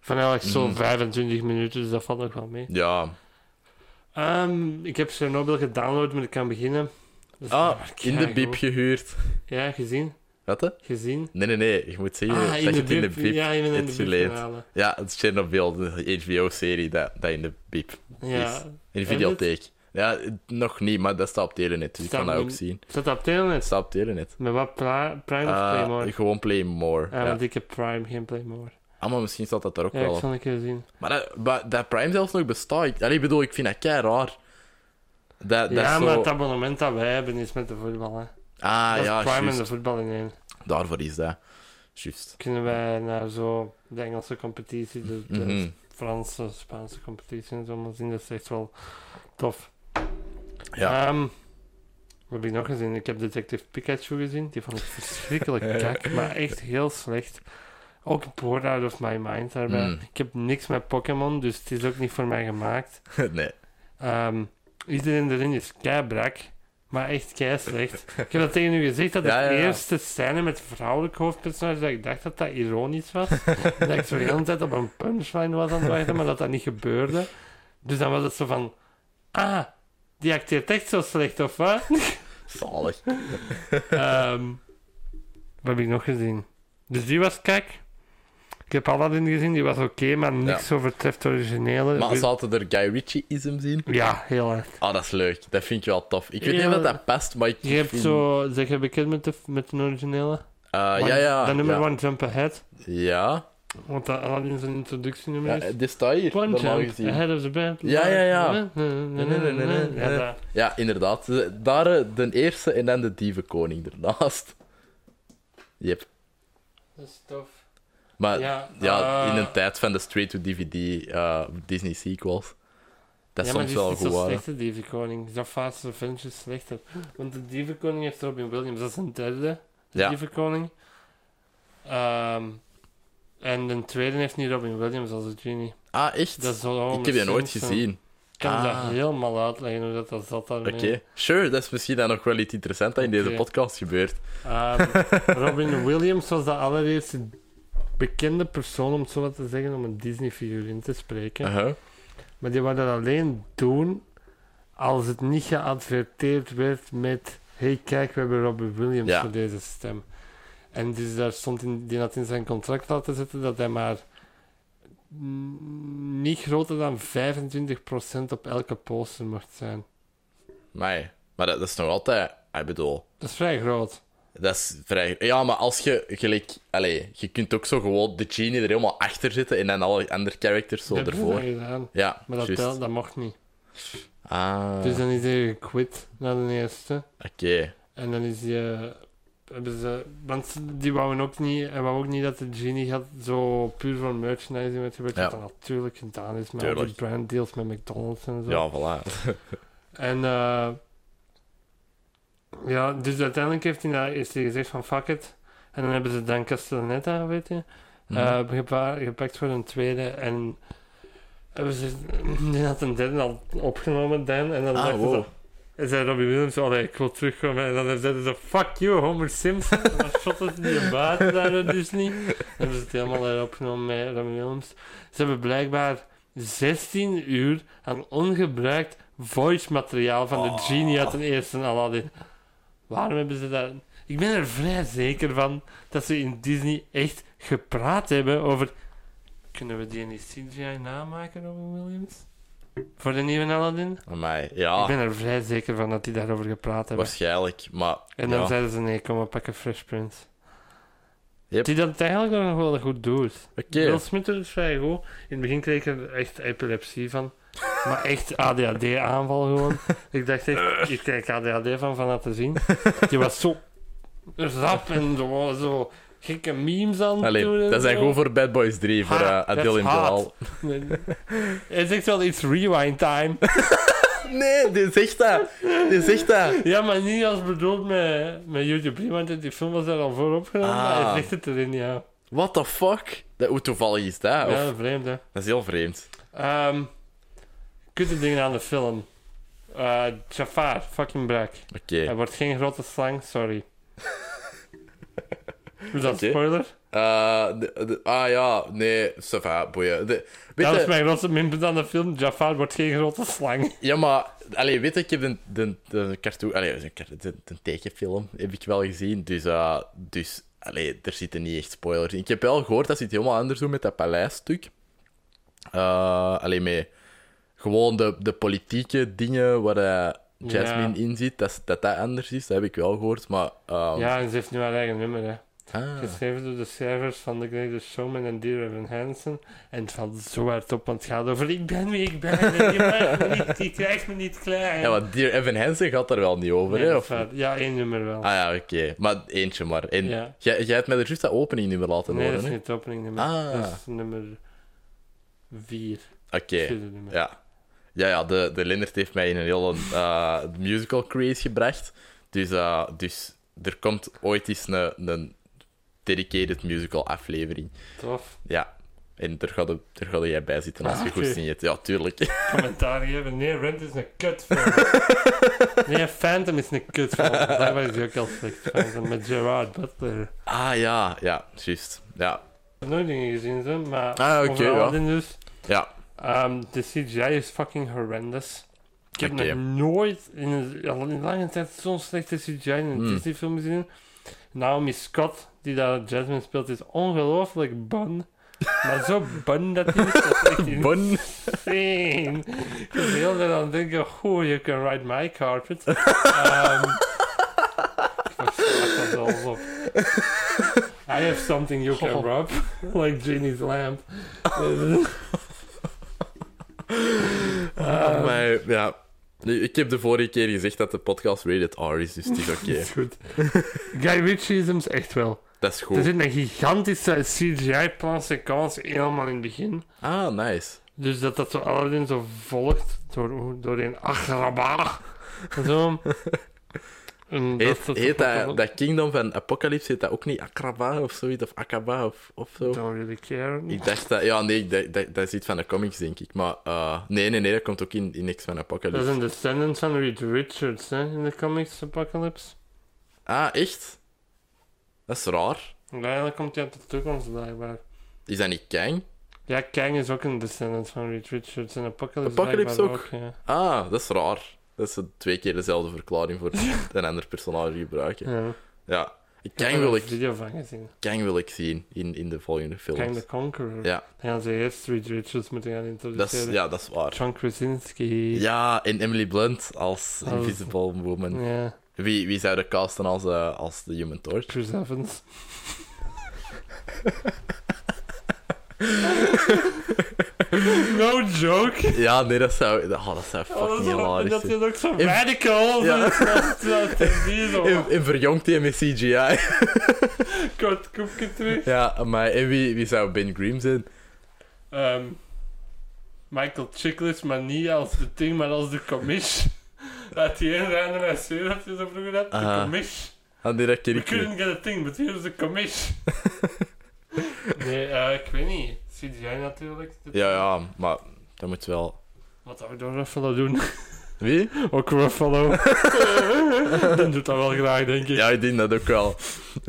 B: Van elk zo'n
A: Mm.
B: 25 minuten, dus dat valt nog wel mee.
A: Ja.
B: Ehm, ik heb Chernobyl gedownload, maar ik kan beginnen. Dus Dat is
A: Ah,
B: maar
A: in de
B: keigoed.
A: bieb gehuurd.
B: Ja, gezien.
A: Wat? hè?
B: Gezien.
A: Nee, nee, nee. Ik moet zeggen
B: ah,
A: dat
B: in
A: je
B: de
A: het in de
B: bib.
A: bieb...
B: Ja, in de
A: hebt geleerd.
B: bib.
A: Ja, het is Chernobyl, de HBO-serie, dat, dat in de bieb.
B: Ja.
A: In de
B: Heb je
A: videotheek. Ja, nog niet, maar dat staat op Telenet, dus ik
B: Staat
A: kan dat ook
B: nu-
A: zien.
B: Staat dat op
A: Het
B: Telenet?
A: staat op Telenet.
B: Met wat? Pri- Prime of
A: Eh,
B: Playmore?
A: gewoon Play More.
B: Ah,
A: ja.
B: want ik heb Prime, geen Playmore.
A: Ah, maar misschien staat dat er ook
B: Ja,
A: wel
B: ik
A: op.
B: zal een keer zien.
A: Maar dat, maar dat Prime zelfs nog bestaat. Ik, allee, ik bedoel, ik vind dat kei raar. Dat, dat
B: ja,
A: is zo...
B: maar het abonnement dat wij hebben is met de voetbal. Hè.
A: Ah,
B: dat
A: ja,
B: is Prime en
A: juist.
B: de voetbal in één.
A: Daarvoor is dat. Juist.
B: Kunnen wij naar zo de Engelse competitie, de, de
A: Mhm.
B: Franse, Spaanse competitie en zo maar zien. Dat is echt wel tof.
A: Ja.
B: Ehm, wat heb ik nog gezien? Ik heb Detective Pikachu gezien. Die vond ik verschrikkelijk kak, maar echt heel slecht. Ook Bored Out of My Mind daarbij.
A: Mm.
B: Ik heb niks met Pokémon, dus het is ook niet voor mij gemaakt.
A: Mhm. nee.
B: Ehm, iedereen erin is keibrak, maar echt kei slecht. Ik heb dat tegen u gezegd dat
A: Ja, ja,
B: de
A: ja.
B: eerste scène met vrouwelijk hoofdpersonage, dat ik dacht dat dat ironisch was. dat ik zo de hele tijd op een punchline was aan het wachten, maar dat dat niet gebeurde. Dus dan was het zo van, ah, die acteert echt zo slecht, of wat?
A: Zalig.
B: Ehm, wat heb ik nog gezien? Dus die was kak. Ik heb Aladdin gezien, die was oké, maar niks overtreft het originele.
A: Maar zaten er Guy Ritchie-isms in?
B: ja, heel erg.
A: Ah, dat is leuk. Dat vind ik wel tof. Ik weet
B: Ja.
A: niet of dat past, maar ik
B: Je hebt
A: vind-
B: zo, zeg je bekend met de, met de originele?
A: Eh,
B: One-
A: ja, ja.
B: Dat nummer
A: ja.
B: One Jump Ahead.
A: Ja.
B: Want dat Aladdin zijn introductienummer
A: Ja, eh,
B: is.
A: dit staat hier,
B: One
A: normaal
B: jump
A: gezien.
B: ahead of the band.
A: Ja, ja, ja.
B: Ja, dat.
A: Ja, inderdaad. Daar eh, de eerste en dan de dievenkoning ernaast. Yep.
B: Dat is tof.
A: Maar Ah, ja,
B: Ja,
A: in
B: eh,
A: een tijd van de straight-to-DVD eh, Disney sequels. Dat is
B: ja,
A: soms
B: maar die
A: wel
B: is niet
A: goed.
B: zo
A: waren.
B: slecht, de Dievenkoning. Dat Fast and Furious is slechter. Want de Dievenkoning heeft Robin Williams, dat is een derde. De
A: Ja.
B: Dievenkoning. Ehm, en de tweede heeft niet Robin Williams als het genie.
A: Ah, echt?
B: Dat is wel
A: Ik heb je nooit
B: Simpson.
A: gezien.
B: Ik kan
A: Ah.
B: dat helemaal uitleggen hoe dat, dat zat daarmee.
A: Oké, sure, dat is misschien dan nog wel iets interessants dat in deze
B: Oké.
A: podcast gebeurt.
B: Ehm, Robin Williams was de allereerste bekende persoon, om het zo maar te zeggen, om een Disney-figuur in te spreken.
A: Uh-huh.
B: Maar die wou dat alleen doen als het niet geadverteerd werd met hey kijk, we hebben Robin Williams
A: Ja.
B: voor deze stem. En dus daar stond in, die had in zijn contract laten zetten dat hij maar mm, niet groter dan 25% op elke poster mocht zijn.
A: Maar, maar dat, dat is nog altijd, ah, ik bedoel,
B: Dat is vrij groot.
A: dat is vrij. Ja, maar als je gelijk, allee, je kunt ook zo gewoon de genie er helemaal achter zitten en dan alle andere characters zo
B: Dat hebben ze
A: ervoor.
B: dan gedaan.
A: Ja,
B: Maar dat,
A: juist.
B: telt, dat mocht niet.
A: Ah,
B: Dus dan is hij gequit na de eerste.
A: oké.
B: En dan is die. eh, hebben ze, want ze- die wouden ook niet. En wou ook niet dat de Genie had zo puur voor merchandising werd gebeurd.
A: Ja.
B: Wat dan natuurlijk gedaan is met al die
A: Tuurlijk.
B: brand deals met McDonald's en zo.
A: Ja, voilà.
B: En. eh, ja, dus uiteindelijk heeft hij, nou- is hij gezegd van fuck it. En dan hebben ze dan Castellaneta, weet je.
A: Mhm.
B: eh, gepa- gepakt voor een tweede. En. Hebben ze. Die had een derde al opgenomen, dan. En dan
A: ah,
B: dachten ze.
A: wow.
B: En zei Robbie Williams, allee, ik wil terugkomen. En dan zeiden ze, fuck you, Homer Simpson. En dan shotten ze die buiten daar dus niet. Dan hebben ze het helemaal heropgenomen met Robbie Williams. Ze hebben blijkbaar 16 uur aan ongebruikt voice materiaal van de genie uit de eerste Aladdin. Waarom hebben ze dat... Ik ben er vrij zeker van dat ze in Disney echt gepraat hebben over... Kunnen we die niet CGI namaken, Robin Williams? Voor de nieuwe Aladdin?
A: Hm, Amai.
B: Ik
A: Ja,
B: ben er vrij zeker van dat die daarover gepraat hebben.
A: waarschijnlijk. Maar,
B: En dan
A: ja.
B: zeiden ze, nee, kom, we pakken Fresh Prince.
A: Yep.
B: Die dat eigenlijk nog wel goed doet.
A: Oké.
B: Will Smith doet het vrij goed. In het begin kreeg ik er echt epilepsie van. Maar echt ADHD-aanval gewoon. Ik dacht echt, ik krijg ADHD van van laten zien. Die was zo rap en zo, zo gekke memes aan het doen
A: Allee,
B: en
A: dat zijn
B: zo.
A: gewoon voor Bad Boys 3, voor eh,
B: Ha, dat
A: Adele en
B: is haat.
A: Bilal.
B: Hij zegt wel iets rewind time.
A: Nee, die zegt dat. Die zegt dat.
B: Ja, maar niet als bedoeld met, met YouTube Rewind, want die film was daar al voor opgenomen.
A: Ah.
B: maar Hij zegt het erin, ja.
A: What the fuck? Dat, hoe toevallig is dat? Ah, Of-
B: Ja, vreemd, hè.
A: Dat is heel vreemd.
B: Ehm, kutte dingen aan de film. Eh, Jafar, fucking brak.
A: Oké.
B: Hij wordt geen grote slang, sorry. Is dat
A: Oké.
B: een spoiler?
A: Eh, de- de- ah ja, nee, ça va, boeien. De- weet
B: Dat
A: je-
B: is mijn grootste minpunt aan de film. Jafar wordt geen grote slang.
A: Ja, maar, allee, weet je, ik heb de, de, de cartoon, allee, de, kar- de- de tekenfilm heb ik wel gezien, dus, eh, dus allee, er zitten niet echt spoilers in. Ik heb wel gehoord dat ze het helemaal anders doen met dat paleisstuk. Eh allee, met gewoon de, de politieke dingen waar eh, Jasmine in zit, dat, is- dat dat anders is, dat heb ik wel gehoord, maar... ehm,
B: Ja, en ze heeft nu haar eigen nummer, hè.
A: ah,
B: Geschreven door de schrijvers van The Greatest Showman en Dear Evan Hansen. En het valt zo hard op, want het gaat over... Ik ben wie ik ben, en je maakt me niet, je krijgt me niet klein.
A: ja, want Dear Evan Hansen gaat daar wel niet over,
B: Nee,
A: hè?
B: dat
A: Of...
B: is waar. Ja, één nummer wel.
A: Ah ja, oké. Maar eentje maar. En
B: Ja.
A: jij, jij hebt mij er juist dat opening niet meer laten
B: nee, dat
A: horen,
B: is
A: hè?
B: niet het openingnummer.
A: Ah.
B: Dat is nummer 4.
A: Oké, ja. Ja, ja, de, de Lindert heeft mij in een hele eh, musical craze gebracht. Dus, eh, dus er komt ooit eens een, een dedicated musical aflevering.
B: Tof.
A: Ja. En daar ga, je- daar ga jij bij zitten als je
B: Ah,
A: goed
B: oké.
A: zin hebt. Ja, tuurlijk.
B: Commentaar geven. Nee, Rent is een kutfilm. nee, Phantom is een kutfilm. Daar is hij ook al slecht. Phantom met Gerard Butler. Ik
A: Ah ja, ja, juist. Ja,
B: heb nooit dingen gezien, zo, maar...
A: Ah, oké,
B: over
A: ja.
B: Aladdin dus.
A: ja.
B: Ehm, de CGI is fucking horrendous. Ik heb
A: Oké.
B: nog nooit in, een, al in lange tijd zo'n slechte CGI in een
A: Hmm.
B: Disney-film gezien. Naomi Scott, die daar Jasmine speelt, is ongelooflijk bun. Maar zo bun dat hij is, dat is echt
A: Bon.
B: insane. Ik was de hele tijd aan het denken, oh, you can ride my carpet. Ehm, ik was echt al op. Hij have something you can
A: Oh.
B: rub, like Genie's lamp.
A: Ah, maar ja. Nu, Ik heb de vorige keer gezegd dat de podcast rated R is, dus het is oké.
B: Is goed. Guy Ritchie is hem echt wel.
A: Dat is
B: Er
A: goed.
B: zit een gigantische CGI-plan-sequence helemaal in het begin.
A: Ah, nice.
B: Dus dat dat zo Aladdin zo volgt door, door een agrabah. En zo. En dat-
A: Heet,
B: dat-
A: heet dat,
B: dat-
A: dat Kingdom van Apocalypse, heet dat ook niet Akraba of zoiets? Of Akaba of, of zo?
B: Don't really care.
A: Ik dacht dat... Ja, nee, ik dacht- dat, dat is iets van de comics, denk ik. Maar eh, nee, nee, nee, dat komt ook in, in niks van
B: Dat is
A: Apocalypse.
B: een descendant van Reed Richards hè, in de comics Apocalypse.
A: Ah, echt? Dat is raar.
B: En Eigenlijk komt hij uit de toekomst blijkbaar.
A: Is dat niet Kang?
B: Ja, Kang is ook een descendant van Reed Richards en Apocalypse,
A: Apocalypse
B: blijkbaar
A: ook.
B: ja.
A: Ah, dat is raar. Dat ze twee keer dezelfde verklaring voor een ander personage gebruiken.
B: Ja.
A: Ja. Ik
B: heb
A: Kang
B: er
A: wil
B: een
A: ik,
B: video van gezien.
A: Kang wil ik zien in, in de volgende
B: Kang
A: films.
B: the Conqueror.
A: Ja.
B: Dan gaan ze eerst Reed Richards moeten gaan
A: Dat is,
B: introduceren.
A: ja, dat is waar.
B: John Krasinski.
A: Ja, en Emily Blunt als
B: Als-
A: Invisible Woman.
B: Ja,
A: Wie, wie zou de casten als, eh, als de Human Torch?
B: Chris Evans. no joke.
A: Ja, nee, dat zou, oh, dat zou
B: Oh, dat
A: fucking
B: is wel- en
A: hilarisch
B: dat
A: zijn.
B: is ook zo
A: In-
B: radical.
A: Ja.
B: Ja. Dat is
A: En, en verjongt hij met CGI.
B: Kort koekje terug.
A: ja, maar en wie, wie zou Ben Grimm zijn?
B: Ehm, Michael Chiklis, maar niet als de team, maar als de commish. Dat die een random essay dat je zo vroeger had. De
A: Ah.
B: commish.
A: Ah, nee, dat ken
B: We
A: ik niet.
B: couldn't get a thing, but here's the commish. nee, eh, ik weet niet. CGI natuurlijk.
A: Ja, ja, maar dat moet wel...
B: Wat zou ik door Ruffalo doen?
A: Wie?
B: Ook Ruffalo. Dan doet dat wel graag, denk ik.
A: Ja, ik denk dat ook wel.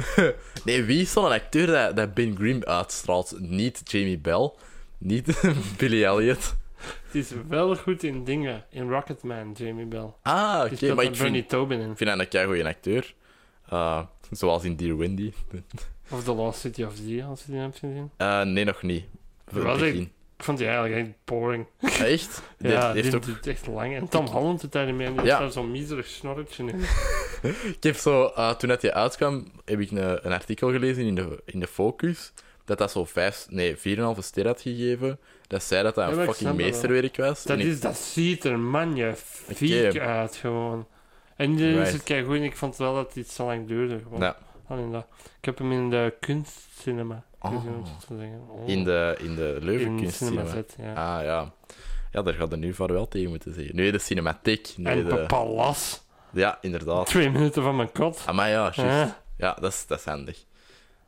A: nee, wie is zo'n acteur dat, dat Ben Grimm uitstraalt? Niet Jamie Bell, niet Billy Elliot.
B: Het is wel goed in dingen. In Rocketman, Jamie Bell.
A: Ah, oké,
B: Die speelt
A: maar
B: daar
A: ik vind,
B: Bernie
A: ik
B: Tobin in.
A: vind dat een goede acteur. Eh, zoals in Dear Wendy.
B: Of The Lost City of Z, als je die hebt gezien.
A: Eh, nee, nog niet. Voor
B: Was
A: het
B: ik-
A: begin. Ah,
B: Ik vond die eigenlijk echt boring.
A: Echt? Die
B: Ja,
A: heeft
B: dit
A: ook-
B: duurt echt lang. En Tom Holland doet daar niet mee. en Die
A: Ja.
B: heeft daar zo'n miserig snorretje in.
A: Ik heb zo, eh, toen dat hij uitkwam, heb ik een, een artikel gelezen in de, in de Focus. Dat dat zo vijf, nee, 4,5 ster had gegeven. Dat zei dat dat
B: Ja,
A: een
B: maar ik
A: fucking
B: snap dat wel.
A: meesterwerk was.
B: Dat,
A: En ik-
B: is, dat ziet er magnifiek
A: Oké.
B: uit, gewoon. En die is
A: Right.
B: het kei goed. En ik vond wel dat het zo lang duurde. Gewoon.
A: Ja.
B: Alleen dat. Ik heb hem in de kunstcinema gezien, om
A: Oh.
B: zo te zeggen. Oh.
A: In de, in de Leuven
B: In cinema
A: kunstcinema.
B: zet, ja.
A: Ah ja. Ja, daar gaat er nu voor wel tegen moeten zeggen. Nu de cinematiek. Nu
B: en
A: de...
B: de palas.
A: Ja, inderdaad.
B: Twee minuten van mijn kot.
A: Maar ja, juist.
B: Ja.
A: Ja, dat is, dat is handig.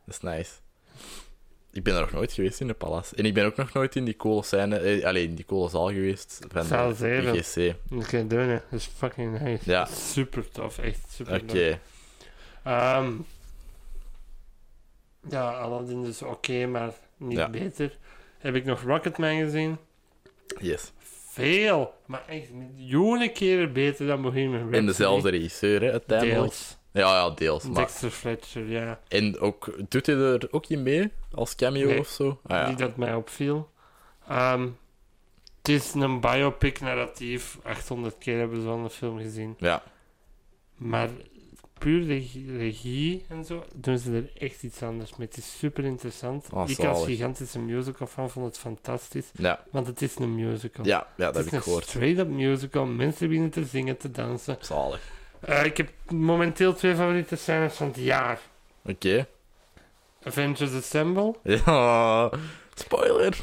A: Dat is nice. Ik ben er nog nooit geweest in de Palace. En ik ben ook nog nooit in die coole scène, eh, allee, in die coole zaal geweest van
B: Zaal
A: de
B: zeven.
A: IGC.
B: Dat kan je doen, hè. Dat is fucking nice.
A: Ja.
B: Super tof, echt super
A: Oké.
B: tof. Ehm, ja, Aladdin is oké, maar niet
A: Ja.
B: beter. Heb ik nog Rocketman gezien?
A: Yes.
B: Veel, maar echt miljoenen keren beter dan Bohemian Rhapsody.
A: En dezelfde regisseur, hè, uiteindelijk.
B: Deels.
A: Ja, ja, deels. Maar...
B: Dexter Fletcher, ja.
A: En ook, doet hij er ook in mee? Als cameo
B: Nee.
A: of zo? Ah, ja.
B: Die dat mij opviel. Ehm, het is een biopic narratief. 800 keer hebben ze al een film gezien.
A: ja.
B: Maar puur regie, regie en zo doen ze er echt iets anders mee. Het is super interessant.
A: Oh,
B: ik als
A: zalig.
B: gigantische musical fan vond het fantastisch.
A: Ja.
B: Want het is een musical.
A: Ja, ja, dat
B: Oh. het
A: heb
B: is
A: ik
B: een
A: gehoord.
B: straight-up musical. Mensen beginnen te zingen, te dansen.
A: Zalig.
B: Eh, ik heb momenteel twee favoriete scènes van het jaar.
A: Oké.
B: Avengers Assemble.
A: Ja, spoiler.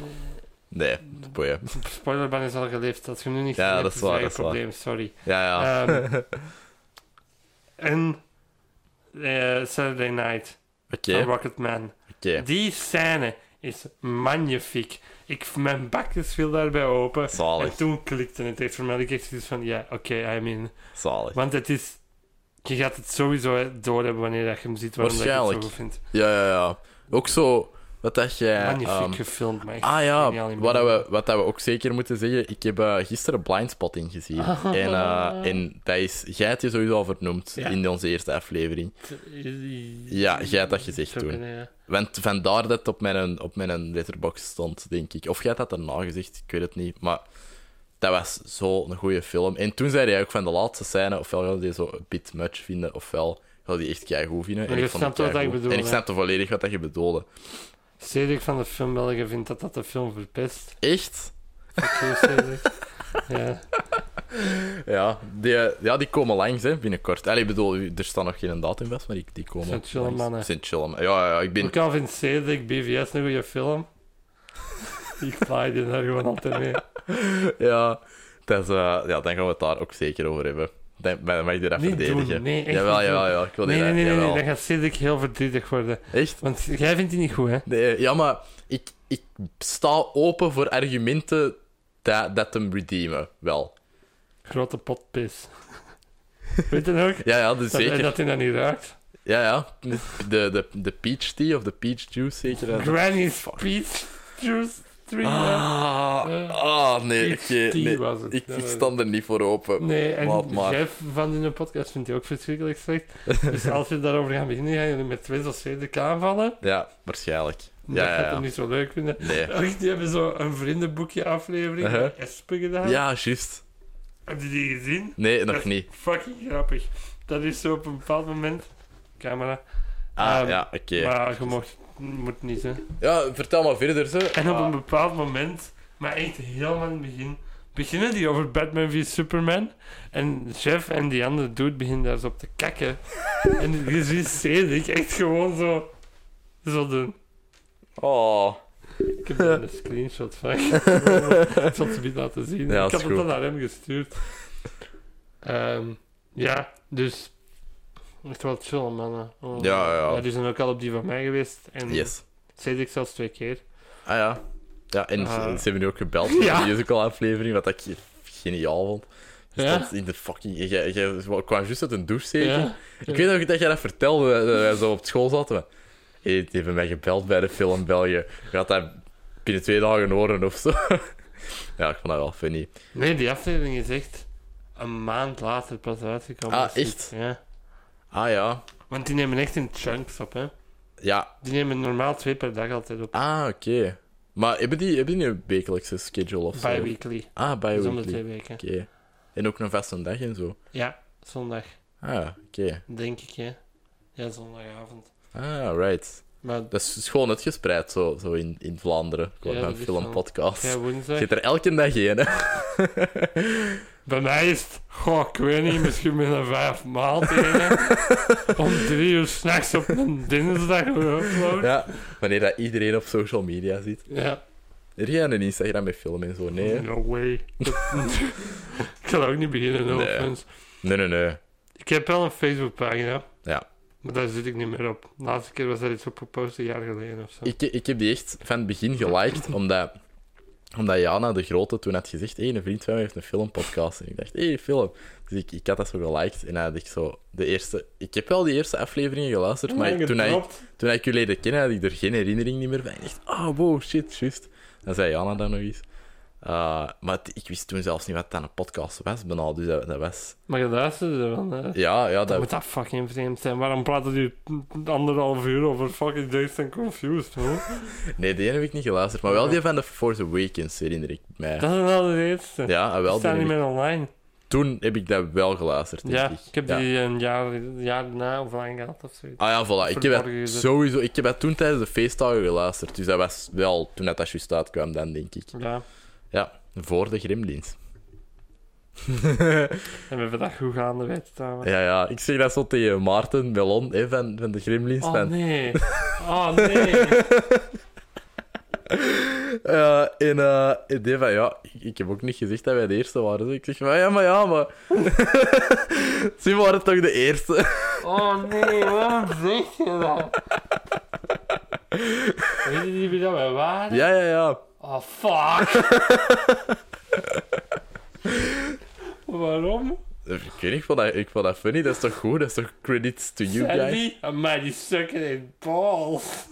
A: Nee, boeien.
B: Spoilerban is al geleefd. Als je nu niet
A: Ja,
B: gezien
A: dat
B: hebt,
A: is waar,
B: je
A: dat is
B: probleem. Sorry.
A: Ja, ja.
B: Ehm, en eh, Saturday Night.
A: Oké,
B: van Rocketman.
A: oké.
B: Ah, Die scène is magnifiek. Ik, mijn bakjes viel daarbij open.
A: Zalig,
B: En toen klikte het echt voor mij. Ik echt zoiets van, ja, oké, I'm in.
A: zalig.
B: Want het is... Je gaat het sowieso doorhebben wanneer dat je hem ziet, waarom dat ik het zo
A: Waarschijnlijk.
B: goed vind.
A: Ja, ja, ja. Ook zo, wat dat jij...
B: Magnifiek
A: ehm,
B: gefilmd, maar echt
A: ah
B: geniaal
A: ja,
B: in
A: wat, dat
B: beeld.
A: we, wat dat we ook zeker moeten zeggen, ik heb eh, gisteren Blindspotting gezien. En, eh, en dat is, jij hebt je sowieso al vernoemd
B: Ja.
A: in onze eerste aflevering. Ja, jij had dat gezegd
B: Zo
A: toen.
B: ben ik, ja.
A: Want vandaar dat het op mijn, op mijn letterbox stond, denk ik. Of jij had dat daarna gezegd, ik weet het niet. Maar dat dat was zo'n goede film. En toen zei hij ook van de laatste scène, ofwel wilde hij zo een bit much vinden, ofwel wilde hij echt keigoed vinden.
B: Maar je
A: ik vond het
B: snapt wat
A: keigoed.
B: ik bedoel,
A: En ik
B: hè?
A: snapte volledig wat dat je bedoelde.
B: Cedric van de Filmbelgen vindt dat dat de film verpest.
A: Echt?
B: Fuck you, Cedric. ja.
A: Ja, die, ja, die komen langs hè, binnenkort. Allee, ik bedoel, er staat nog geen datum vast, maar die, die komen
B: Zijn chille
A: langs.
B: mannen.
A: Zijn chille mannen. Ja, ja, ja, ik ben...
B: Ook al vindt Cedric BVS een goede film. ik fly die daar gewoon altijd mee.
A: Ja, dat is, eh, ja, dan gaan we het daar ook zeker over hebben. Dan, dan mag je dat
B: Niet
A: verdedigen.
B: doen, nee, echt
A: jawel,
B: niet doen.
A: jawel, jawel. Ik wil
B: Nee,
A: niet
B: nee,
A: dat-
B: nee, nee,
A: jawel.
B: nee, dan gaat Cedric heel verdrietig worden.
A: Echt?
B: Want jij vindt die niet goed, hè?
A: Nee, ja, maar ik, ik sta open voor argumenten dat, dat hem redeemen, wel.
B: Grote potpis. Weet je nog?
A: Ja, ja, dus
B: Dat,
A: zeker.
B: dat hij dat niet raakt.
A: Ja, ja. De, de, de peach tea of de peach juice, zeker. hè.
B: Granny's Peach Juice 3.
A: Ah, ah, nee,
B: Peach
A: oké,
B: tea
A: nee.
B: was het.
A: Ik,
B: Ja,
A: ik
B: dat-
A: stand er niet voor open.
B: Nee,
A: Laat
B: en
A: maar.
B: Jeff van in de podcast vindt hij ook verschrikkelijk slecht. Dus als we daarover gaan beginnen, gaan jullie met twee of Cedric aanvallen.
A: Ja, waarschijnlijk.
B: Ja, dat
A: Ja,
B: gaat
A: ja,
B: hem
A: ja.
B: niet zo leuk vinden.
A: Nee.
B: Ook, Die hebben zo een vriendenboekje aflevering
A: Uh-huh.
B: met Espen gedaan.
A: Ja, juist.
B: Heb je die gezien?
A: Nee, nog niet.
B: Fucking grappig. Dat is zo op een bepaald moment. Camera.
A: Ah,
B: Ehm,
A: ja, oké.
B: Maar je mocht, moet niet, hè.
A: Ja, vertel maar verder, ze.
B: En op
A: Ah.
B: een bepaald moment, maar echt helemaal in het begin, beginnen die over Batman v Superman. En Jeff en die andere dude beginnen daar zo op te kakken. en je ziet Cedric echt gewoon zo... Zo doen.
A: Oh.
B: Ik heb daar een screenshot van. Ik zal het niet laten zien.
A: Ja, is
B: ik heb het
A: goed.
B: dan naar hem gestuurd. Ehm, ja, dus. Echt wel chill, mannen. Oh.
A: Ja, ja.
B: Die zijn ook al op die van mij geweest. En
A: Yes.
B: zei ik zelfs twee keer.
A: Ah ja. Ja, en
B: Ah.
A: ze, ze hebben nu ook gebeld voor
B: Ja.
A: de musical-aflevering, wat ik geniaal vond. Je
B: Ja?
A: stond in de fucking... Je, je, je kwam juist uit een douche, zeker?
B: Ja.
A: Ik weet nog dat jij dat vertelde, eh, dat wij zo op school zaten. Hé, die hebben mij gebeld bij de film België. Je gaat dat binnen twee dagen horen of zo. ja, ik vond dat wel funny.
B: Nee, die aflevering is echt een maand later pas uitgekomen.
A: Ah, echt?
B: Ja.
A: Ah ja.
B: Want die nemen echt in chunks op, hè?
A: Ja.
B: Die nemen normaal twee per dag altijd op.
A: Ah, oké. Maar hebben die, hebben die een wekelijkse schedule of zo?
B: Bi-weekly.
A: Ah,
B: Dus om de twee
A: bi-weekly.
B: weken.
A: Oké. En ook een vaste dag en zo.
B: Ja, zondag,
A: Ah, oké.
B: denk ik, hè? Ja, zondagavond.
A: Ah, right.
B: Maar
A: Dat is is gewoon uitgespreid zo, zo in, in Vlaanderen. Qua
B: Ja,
A: ja,
B: dat is
A: filmpodcast.
B: Ja,
A: Je
B: woensdag.
A: zit er elke dag in, hè?
B: Bij mij is het, goh, ik weet niet, misschien met een vijf maaltijden. om drie uur s'nachts op een dinsdag weer upload. Ja.
A: Ja. Wanneer dat iedereen op social media zit. Er jij een Instagram met film en zo? Nee. hè?
B: No way. ik zal ook niet beginnen, no
A: Nee.
B: offense.
A: Nee, nee, nee.
B: Ik heb wel een Facebookpagina.
A: Ja.
B: Maar daar zit ik niet meer op. De laatste keer was dat iets op gepost een jaar geleden of zo.
A: Ik, ik heb die echt van het begin geliked, omdat, omdat Jana de Grote toen had gezegd: hé, een vriend van mij heeft een filmpodcast. En ik dacht: hé, film. Dus ik, ik had dat zo geliked en dan had ik zo de eerste. Ik heb wel die eerste afleveringen geluisterd, maar ik- toen, ik, toen ik jullie leerde kennen, had ik er geen herinnering niet meer bij. En ik dacht: oh, wow, shit, juist. Dan zei Jana dat nog eens. Eh, maar het- ik wist toen zelfs niet wat dat een podcast was, bijna. Dus dat, dat was.
B: Maar je luisterde ervan, hè?
A: Ja, ja,
B: Dat
A: dat,
B: moet dat fucking vreemd zijn. Waarom praten die anderhalf uur over fucking Days and Confused, hoor?
A: nee, die ene heb ik niet geluisterd. Maar wel die van The Force Awakens herinner ik mij.
B: Dat is wel de eerste.
A: Ja, ah, wel.
B: Die
A: die
B: staan
A: heb
B: niet
A: ik-
B: meer online.
A: Toen heb ik dat wel geluisterd. denk
B: Ja,
A: ik.
B: ik heb
A: Ja.
B: die een jaar, een jaar na online gehad of zoiets.
A: Ah ja, voilà. Ik heb, dat
B: Verborgen gezet.
A: sowieso, ik heb dat toen tijdens de feestdagen geluisterd. Dus dat was wel toen dat, dat juist uitkwam, dan denk ik.
B: Ja,
A: Ja, voor de Gremlins.
B: en we hebben dat goed gaande weten trouwens.
A: Ja, ja. Ik zeg dat zo tegen Maarten Melon hè, van, van de Gremlins.
B: Oh
A: van,
B: nee. Oh nee.
A: Eh, en eh, ik deed van, ja, ik- ik heb ook niet gezegd dat wij de eerste waren. Dus ik zeg van, ja, maar ja, maar... Ze waren toch de eerste?
B: Oh nee, waarom zeg je dat? Weet je niet wie dat wij waren?
A: ja, ja, ja.
B: Oh fuck. Waarom?
A: Ik weet niet, ik vond dat, ik vond dat funny. Dat is toch goed? Dat is toch credits to you guys?
B: Sandy? Amai, die sukken in balls.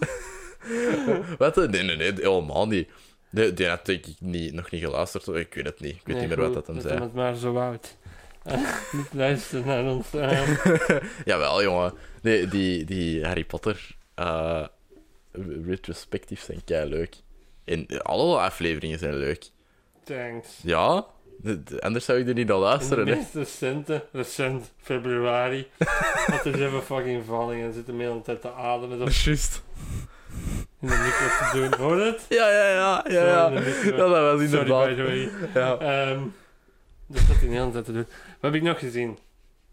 A: Wat? eh, Nee, nee, nee, helemaal niet. Die, die had denk ik niet, nog niet geluisterd. Ik weet het niet. Ik weet
B: Nee,
A: niet meer
B: goed,
A: wat dat hem zei.
B: Dat het maar zo oud. Niet luisteren naar ons. eh.
A: Jawel, jongen. Die, die, die Harry Potter eh retrospectief zijn kei leuk. En alle afleveringen zijn leuk.
B: Thanks.
A: Ja? De- de- Anders zou je er niet naar luisteren,
B: de
A: hè.
B: meest recente, recent, februari, had er even fucking valling en zit hem de hele tijd te ademen zo
A: Juist.
B: in de micro te doen. Hoor je het?
A: Ja, ja, ja, ja, ja.
B: Zo in de
A: Ja,
B: micro.
A: dat was
B: Sorry,
A: inderdaad.
B: by the way.
A: Ja.
B: Ehm, dat zat hij de hele tijd te doen. Wat heb ik nog gezien?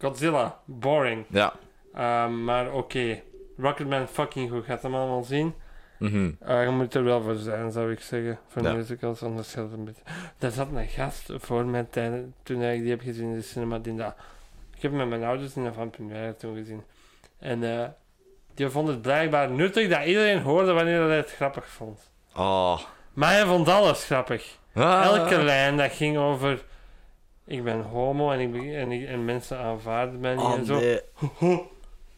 B: Godzilla, boring.
A: Ja.
B: Ehm, maar oké. Rocketman, fucking goed. Gaat hem allemaal zien.
A: Mhm.
B: Eh, je moet er wel voor zijn, zou ik zeggen. Voor
A: Ja.
B: musicals, anders gaat het een beetje... Daar zat een gast voor mijn tijd, toen ik die heb gezien in de cinema. Die dat... Ik heb hem met mijn ouders in de Van Première toen gezien. En eh, die vond het blijkbaar nuttig dat iedereen hoorde wanneer hij het grappig vond.
A: Ah.
B: Maar hij vond alles grappig.
A: Ah.
B: Elke lijn, dat ging over... Ik ben homo en, ik, ben- en, ik- en mensen aanvaarden mij niet
A: Ah,
B: en zo.
A: nee.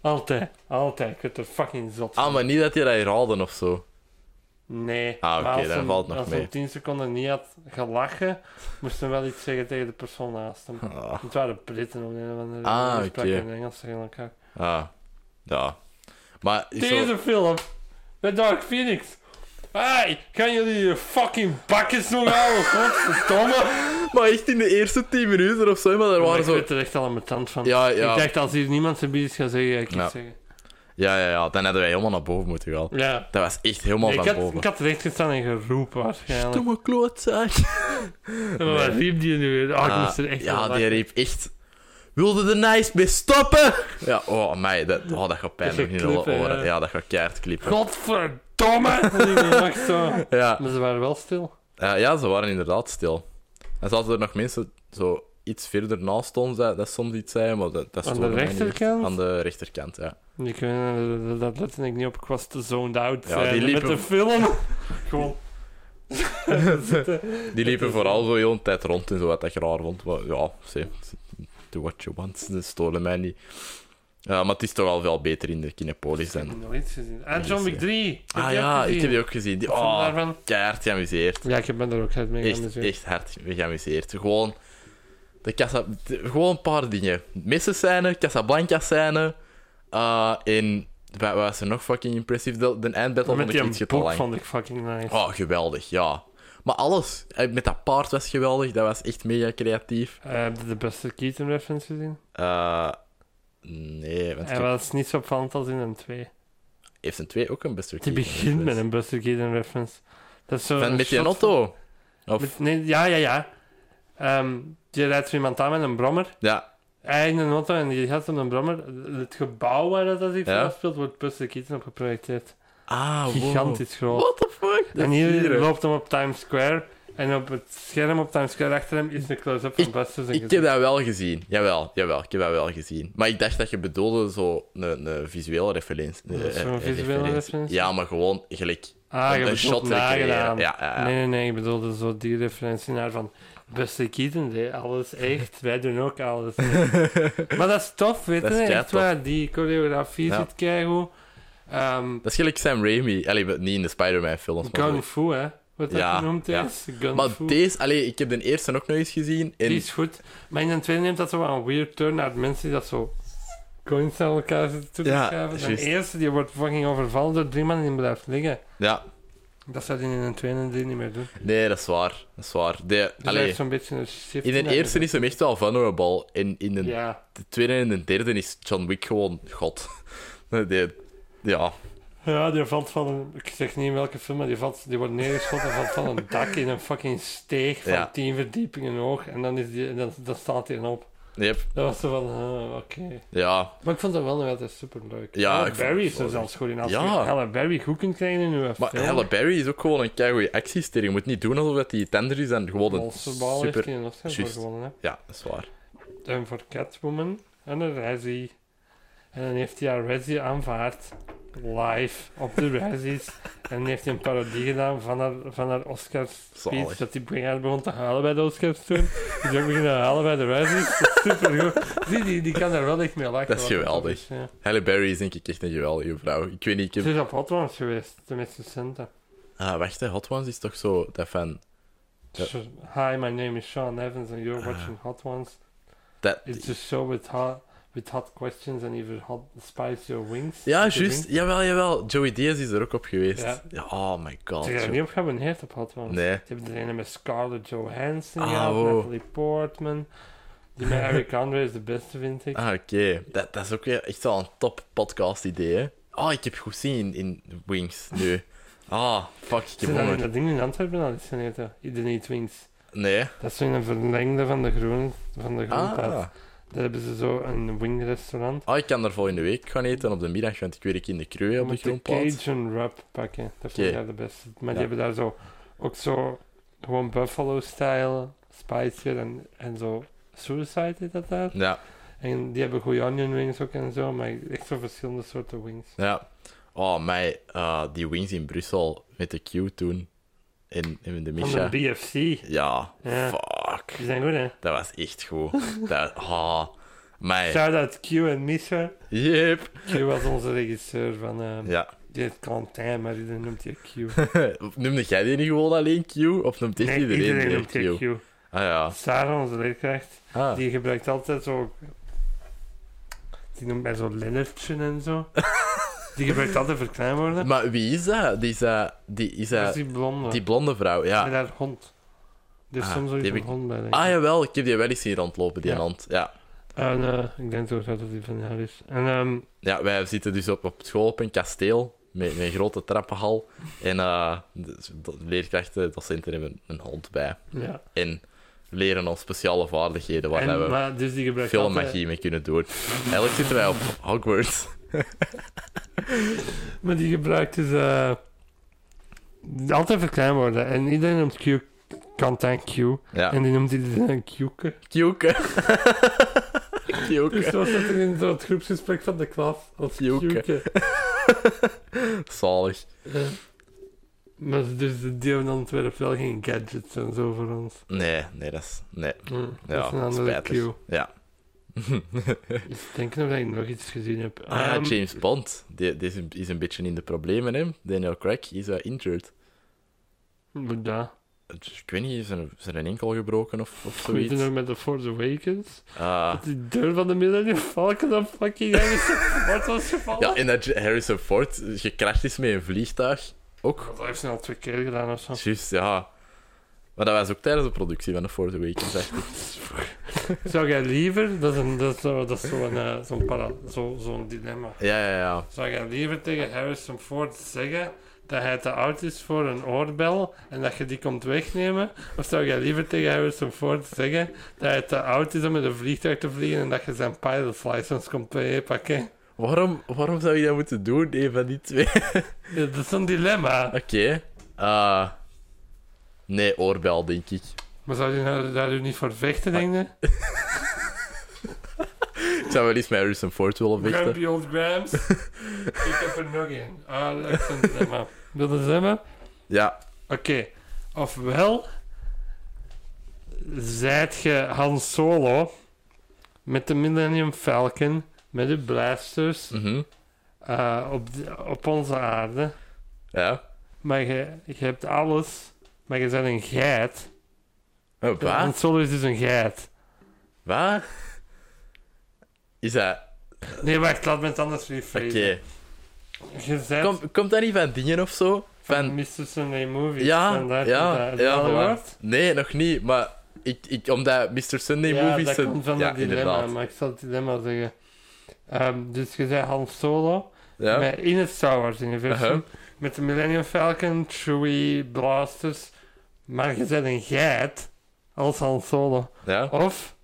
B: Altijd, altijd. Ik werd er fucking zot van.
A: Ah, maar niet dat je dat hier haalde of zo.
B: Nee.
A: Ah, oké,
B: maar als
A: dan
B: hem-
A: valt nog
B: Als
A: mee.
B: hij 10 seconden niet had gelachen, moest hij wel iets zeggen tegen de persoon naast hem.
A: Ah.
B: Het waren Britten om de een of andere reden.
A: Ah,
B: Die spraken
A: oké.
B: in Engels tegen elkaar.
A: Ah. Ja. Maar is zo-
B: Deze film, met Dark Phoenix. Hey, gaan jullie je fucking bakjes nog houden? Godverdomme.
A: Maar echt in de eerste 10 minuten of zo, maar er
B: Maar
A: waren
B: Oh, ik
A: zo...
B: werd er echt al aan mijn tand van.
A: Ja, ja.
B: Ik dacht, als hier niemand zijn bies gaat zeggen, ga ik iets
A: Ja.
B: zeggen.
A: Ja, ja, ja. Dan hadden wij helemaal naar boven moeten gaan.
B: Ja.
A: Dat was echt helemaal
B: Ik
A: van
B: had,
A: boven.
B: ik had recht gestaan en geroepen waarschijnlijk.
A: Stomme klootzak.
B: En Wat riep die nu weer? Ah, ik
A: Ah,
B: moest er echt om
A: ja,
B: lachen.
A: die riep echt... Wilde de nice mee stoppen? Ja, oh mij, dat, oh, dat gaat pijn
B: Dat
A: doen
B: gaat
A: in alle
B: knippen,
A: oren.
B: ja.
A: Ja, dat gaat keihard klippen.
B: Godverdomme! Dat ik niet mag zo.
A: Ja.
B: Maar ze waren wel stil.
A: Eh, ja, ze waren inderdaad stil. En zaten er nog mensen zo iets verder naast ons, dat, dat soms iets zeiden, maar dat, dat
B: Aan de
A: stoorde mij niet.
B: rechterkant?
A: Aan de rechterkant, ja.
B: Ik, eh, dat lette ik niet op. Ik was te zoned out.
A: Ja,
B: eh,
A: die
B: met
A: liepen-
B: de film. Gewoon.
A: Die liepen vooral zo heel een tijd rond en zo, wat ik raar vond. Maar ja, see, do what you want. Ze stolen mij niet. Ja, maar het is toch al veel beter in de Kinepolis
B: Ik
A: dan...
B: heb nog iets gezien. Ah, John Wick 3. Heb
A: Ah
B: je
A: ja,
B: ook
A: ik
B: gezien?
A: heb die ook gezien. Die,
B: Wat vond je
A: oh,
B: daarvan?
A: keihard geamuseerd.
B: Ja, ik ben er ook uit mee
A: Echt,
B: geamuseerd.
A: echt hard geamuseerd. Gewoon... De Casa... de- gewoon een paar dingen. Missen-scène, Casablanca-scène... eh en... Wat was er nog fucking impressief? De, de eindbattle
B: Met
A: vond ik
B: die
A: iets te
B: boek
A: lang.
B: vond ik fucking nice.
A: Oh, geweldig, ja. Maar alles. eh, Met dat paard was geweldig. Dat was echt mega creatief.
B: Eh, heb je de beste Keaton reference gezien?
A: Eh, nee, want
B: Hij
A: ik-
B: was niet zo opvallend als in een 2.
A: heeft een 2 ook een Buster
B: Die
A: Keaton
B: begint met
A: reference?
B: een Buster Keaton reference. Dat is zo
A: dus- Van met die
B: shot
A: auto. Of,
B: Met- nee, ja, ja, ja. Ehm, die rijdt zo iemand aan met een brommer.
A: ja,
B: Hij in een auto en die gaat op een brommer. Het gebouw waar dat zich
A: Ja.
B: ja. speelt, wordt Buster Keaton op geprojecteerd.
A: ah, wow.
B: Gigantisch groot.
A: What the fuck? Dat
B: En
A: is
B: hier
A: gierig.
B: loopt hem op Times Square. En op het scherm op Times Square achter hem is een close-up van Buster. zijn
A: Ik heb
B: gezicht.
A: dat wel gezien. Jawel, jawel, ik heb dat wel gezien. Maar ik dacht dat je bedoelde zo een, een visuele referentie.
B: Dat is zo'n
A: Eh, eh,
B: visuele referentie?
A: Ja, maar gewoon gelijk.
B: Ah, je
A: een
B: hebt
A: shot
B: shot
A: recreëren.
B: nagedaan.
A: Ja, ja, ja.
B: Nee, nee, nee. Ik bedoelde zo die referentie naar van... Buster Keaton deed alles echt. Wij doen ook alles. maar dat is tof, weet
A: Dat
B: je.
A: is
B: Echt
A: keitof.
B: waar. Die choreografie
A: Ja.
B: zit keigoed. Ehm,
A: Dat is gelijk Sam Raimi. Allee, maar niet in de Spider-Man-films. maar
B: Kung
A: zo.
B: Fu, hè? Wat dat
A: Ja,
B: genoemd
A: ja.
B: is. Kung
A: Maar
B: Fu.
A: deze, allee, ik heb de eerste ook nog eens gezien. En
B: Die is goed. Maar in een tweede neemt dat zo wel een weird turn naar mensen die dat zo coins aan elkaar zitten toe te
A: Ja,
B: schuiven. De
A: juist.
B: eerste die wordt fucking overvallen door drie man die blijft liggen.
A: Ja,
B: Dat zou die in een tweede en drie niet meer doen.
A: nee, dat is waar. Dat is waar. De,
B: Dus hij
A: allee,
B: heeft zo'n beetje een shift.
A: in de
B: naar-
A: eerste is hem echt wel vulnerable. En in de,
B: Ja.
A: de tweede en de derde is John Wick gewoon god. Die- ja,
B: Ja, die valt van een... Ik zeg niet in welke film, maar die, valt, die wordt neergeschoten en valt van een dak in een fucking steeg van
A: Ja.
B: tien verdiepingen hoog. En dan, is die, en dan, dan staat hij op.
A: yep,
B: Dat was zo van, ah, oké.
A: ja.
B: Maar ik vond dat wel nog altijd superleuk.
A: Ja,
B: Halle
A: ik vond
B: Berry
A: het
B: is
A: wel
B: er zelfs goed in. Als
A: Ja.
B: je Halle Berry goed kunt krijgen in uw
A: Maar
B: film.
A: Halle Berry is ook gewoon een keigoeie actiester. Je moet niet doen alsof dat die tender is en gewoon een
B: Monsterbal heeft
A: super...
B: hij een Oscar voor
A: Juist.
B: gewonnen.
A: Ja, dat is waar.
B: Hè. En voor Catwoman en een Razzie. En dan heeft hij haar Razzie aanvaard. Live op de Razzies. en dan heeft hij een parodie gedaan van haar, van haar Oscars
A: Zalig.
B: speech. Dat hij begon, begon te halen bij de Oscars toen. Die is ook beginnen te halen bij de Razzies. Dat is supergoed. Zie, die, die kan daar wel echt mee lachen.
A: Dat is
B: wat dat
A: geweldig.
B: is, ja.
A: Halle Berry is denk ik echt een geweldige vrouw. Ik weet niet, ik
B: Ze
A: heb...
B: is op Hot Ones geweest, de meest recente.
A: Ah, wacht, hè. Hot Ones is toch zo dat van... Ja.
B: So,
A: Ah.
B: Hi, my name is Sean Evans and you're watching Hot Ones.
A: Dat...
B: It's a show with hot, With Hot Questions en even Hot Spice Your Wings.
A: Ja,
B: De
A: juist.
B: Wings.
A: Jawel, jawel. Joey Diaz is er ook op geweest.
B: Ja.
A: Ja, oh my god.
B: Ze hebben er
A: joh.
B: niet op geabonneerd op Hot Ones.
A: Nee.
B: Ze hebben er een met Scarlett Johansson
A: Ah,
B: gehad,
A: wow.
B: Natalie Portman. Die met Eric Andre is de beste, vind ik.
A: Ah, oké. Dat, dat is ook weer echt wel een top podcast idee, hè. Ah, ik heb goed zien in Wings nu. Ah, fuck, ik
B: Ze
A: heb
B: zijn dan in
A: honger.
B: dat ding in Antwerpen al eens gaan eten, in de Neat Wings.
A: Nee.
B: Dat is zo'n verlengde van de groen, van de groenplaats.
A: Ah.
B: Daar hebben ze zo een wingrestaurant.
A: ah, ik kan er volgende week gaan eten op de middag, want ik werk in de Kreu op de
B: Moet de
A: groenplaats.
B: Cajun wrap pakken. Dat vind ik
A: Oké.
B: daar de beste. Maar
A: Ja.
B: die hebben daar zo ook zo gewoon buffalo-style, spicier en, en zo suicide heet dat daar.
A: Ja,
B: En die hebben goede onion wings ook en zo, maar echt zo verschillende soorten wings.
A: ja. Oh, mij, eh, die Wings in Brussel met de Q toen. In, in de Misha. Eh.
B: Van de BFC.
A: Ja,
B: Ja.
A: fuck.
B: Die zijn goed, hè?
A: Dat was echt goed. Dat, ah, mij.
B: Shout-out Q en Misha.
A: Yep.
B: Q was onze regisseur van... eh
A: Ja.
B: Die heeft Quentin, maar die noemt je Q.
A: Noemde jij die niet gewoon alleen Q? Of noemt echt
B: Nee,
A: iedereen,
B: iedereen
A: die
B: noemt je
A: Q?
B: Q.
A: Ah ja.
B: Sarah, onze leerkracht,
A: Ah.
B: die gebruikt altijd zo... Die noemt mij zo Lennertje en zo. die gebruikt altijd verkleinwoorden.
A: Maar wie is dat? Die is, dat- die, is dat-
B: Dat is die blonde.
A: die blonde vrouw,
B: Met
A: ja.
B: haar hond. Er is
A: Ah,
B: soms ook
A: die
B: een
A: heb ik-
B: hond bij, denk ik.
A: Ah jawel, ik heb die wel eens zien rondlopen, die
B: Ja.
A: hand. Ja.
B: En, eh, ik denk toch dat het die van haar is. En ehm,
A: ja, wij zitten dus op, op school op een kasteel met, met een grote trappenhal. En eh, de, de leerkrachten, docenten hebben een hond bij.
B: ja.
A: En leren ons speciale vaardigheden waar
B: En,
A: we
B: maar, dus die gebruikt
A: veel
B: altijd-
A: magie mee kunnen doen. Eigenlijk zitten wij op Hogwarts.
B: Maar die gebruikt dus eh, altijd verkleinwoorden. En iedereen noemt Q Quentin Q.
A: Ja.
B: En die noemt iedereen een Q'ke.
A: Kjoeke.
B: Dus
A: Kjoeke.
B: zo zat er in zo'n groepsgesprek van de klas. Als
A: Joeke.
B: Joeke.
A: Zalig.
B: Ja. Eh, Maar ze- dus de deel in Antwerpen wel geen gadgets en zo voor ons.
A: Nee, nee, dat is... Nee.
B: Hm, dat
A: Hmm. Ja,
B: is een andere
A: spijtig.
B: Q.
A: Ja.
B: Ik denk nog dat ik nog iets gezien heb.
A: Ah, ja,
B: Ehm,
A: James Bond. Die, die is, een, is een beetje in de problemen, hè. Daniel Craig is eh, injured.
B: ja.
A: Ik weet niet, is er, is er een enkel gebroken of, of
B: Ik weet het
A: zoiets?
B: nog met The Force Awakens.
A: Ah.
B: Dat die deur van de Millennium Falcon op fucking Harrison Ford was gevallen.
A: ja, en dat Harrison Ford gecrashed is met een vliegtuig. Ook.
B: Dat heeft ze al twee keer gedaan of zo.
A: Juist, ja. Maar dat was ook tijdens de productie van The Force Awakens, dacht ik.
B: Zou jij liever, dat is, een, dat is, zo- dat is zo'n eh, zo'n para- zo, zo'n dilemma.
A: Ja, ja, ja.
B: Zou jij liever tegen Harrison Ford zeggen dat hij te oud is voor een oorbel en dat je die komt wegnemen? Of zou jij liever tegen Harrison Ford zeggen dat hij te oud is om met een vliegtuig te vliegen en dat je zijn pilot's license komt pakken?
A: Waarom, waarom zou je dat moeten doen? Een van die twee.
B: Ja, dat is een dilemma.
A: Oké. eh nee, oorbel, denk ik.
B: Maar zou je nou, daar nu niet voor vechten, denk je?
A: Ik zou wel eens met Harrison Ford willen vechten.
B: Grumpy old Grams. Ik heb er nog één. Ah, dat is een dilemma. Wil je het hebben?
A: Ja.
B: Oké. Ofwel... Zijt je Han Solo met de Millennium Falcon, met de blasters,
A: mhm.
B: eh, op, de- op onze aarde.
A: Ja.
B: Maar je, je hebt alles, maar je bent een geit.
A: Oh,
B: Han
A: waar?
B: Solo is dus een geit.
A: Waar? Is dat...
B: Nee, wacht, laat me het anders
A: Oké.
B: rephrase. Je zijt
A: Kom, komt dat niet van dingen of zo? Van...
B: Mr. Sunday Movie.
A: Ja,
B: Vandaar
A: ja,
B: dat-
A: ja,
B: dat
A: voilà.
B: wordt.
A: Nee, nog niet, maar... Ik, ik, omdat Mr. Sunday
B: ja,
A: Movies...
B: dat
A: zijn-
B: komt van
A: ja,
B: het dilemma,
A: inderdaad.
B: maar ik zal het dilemma zeggen. Ehm, dus je zei Han Solo
A: Ja?
B: met, in het Star Wars universum
A: Uh-huh.
B: met de Millennium Falcon, Chewie, Blasters, maar je bent een geit als Han Solo.
A: Ja?
B: Of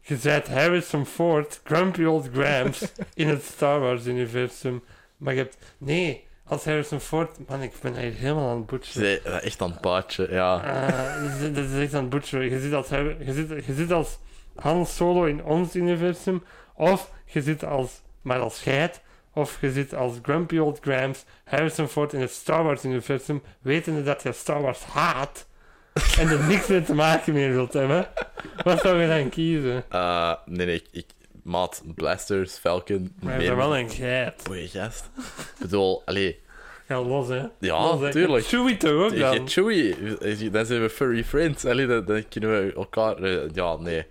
B: je bent Harrison Ford, Grumpy Old Grams in het Star Wars universum, maar je hebt... Nee, als Harrison Ford... Man, ik ben hier helemaal aan het butcheren.
A: Ze- dat is echt een paadje, ja.
B: Eh, dat is- dat is echt aan het butcheren. Je zit als, Har- je zit, je zit als Han Solo in ons universum, of je zit als, maar als geit, of je zit als Grumpy Old Grams, Harrison Ford in het Star Wars universum, wetende dat je Star Wars haat en er niks mee te maken meer wilt hebben. Wat zou je dan kiezen?
A: Eh, nee, nee, ik... ik maat, Blasters, Falcon...
B: Maar je
A: nee,
B: bent wel een geit.
A: Boeie gast. Ik bedoel, allee...
B: Ja, los hè.
A: Ja,
B: Los, hè.
A: tuurlijk.
B: Chewie toch ook
A: Je
B: dan?
A: Chewie, dan zijn we furry friends. Allee, dan, dan kunnen we elkaar... eh, ja, nee.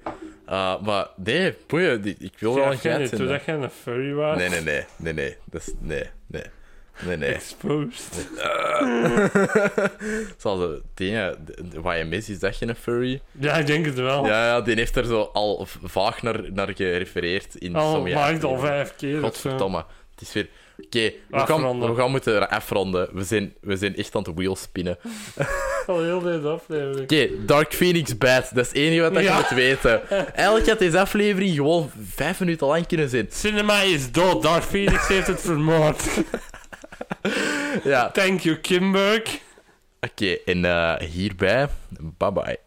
A: Eh, maar nee, boeien, die- ik wil wel
B: Ja,
A: een geit
B: toen
A: zijn. hè.
B: dat jij een furry was.
A: Nee, nee, nee, nee, nee. Dat is, nee, nee. Nee, nee.
B: Exposed.
A: Zoals de dingen, de- de- wat je mis is dat je een furry.
B: Ja, ik denk het wel.
A: Ja, ja, die heeft er zo al v- vaag naar, naar gerefereerd in
B: al
A: sommige
B: Oh, maakt al
A: afleveringen.
B: vijf keer. of zo.
A: Godverdomme. Het is weer... Oké, we, gaan,
B: Afronden.
A: we gaan moeten afronden. We zijn, we zijn echt aan het wheelspinnen. Oké,
B: Al heel deze aflevering.
A: Dark Phoenix Bad. Dat is het enige wat dat
B: Ja.
A: je moet weten. Eigenlijk had deze aflevering gewoon vijf minuten lang kunnen zijn.
B: Cinema is dood. Dark Phoenix heeft het vermoord.
A: Ja.
B: Thank you, Kimberg.
A: Oké, en eh, hierbij... Bye-bye.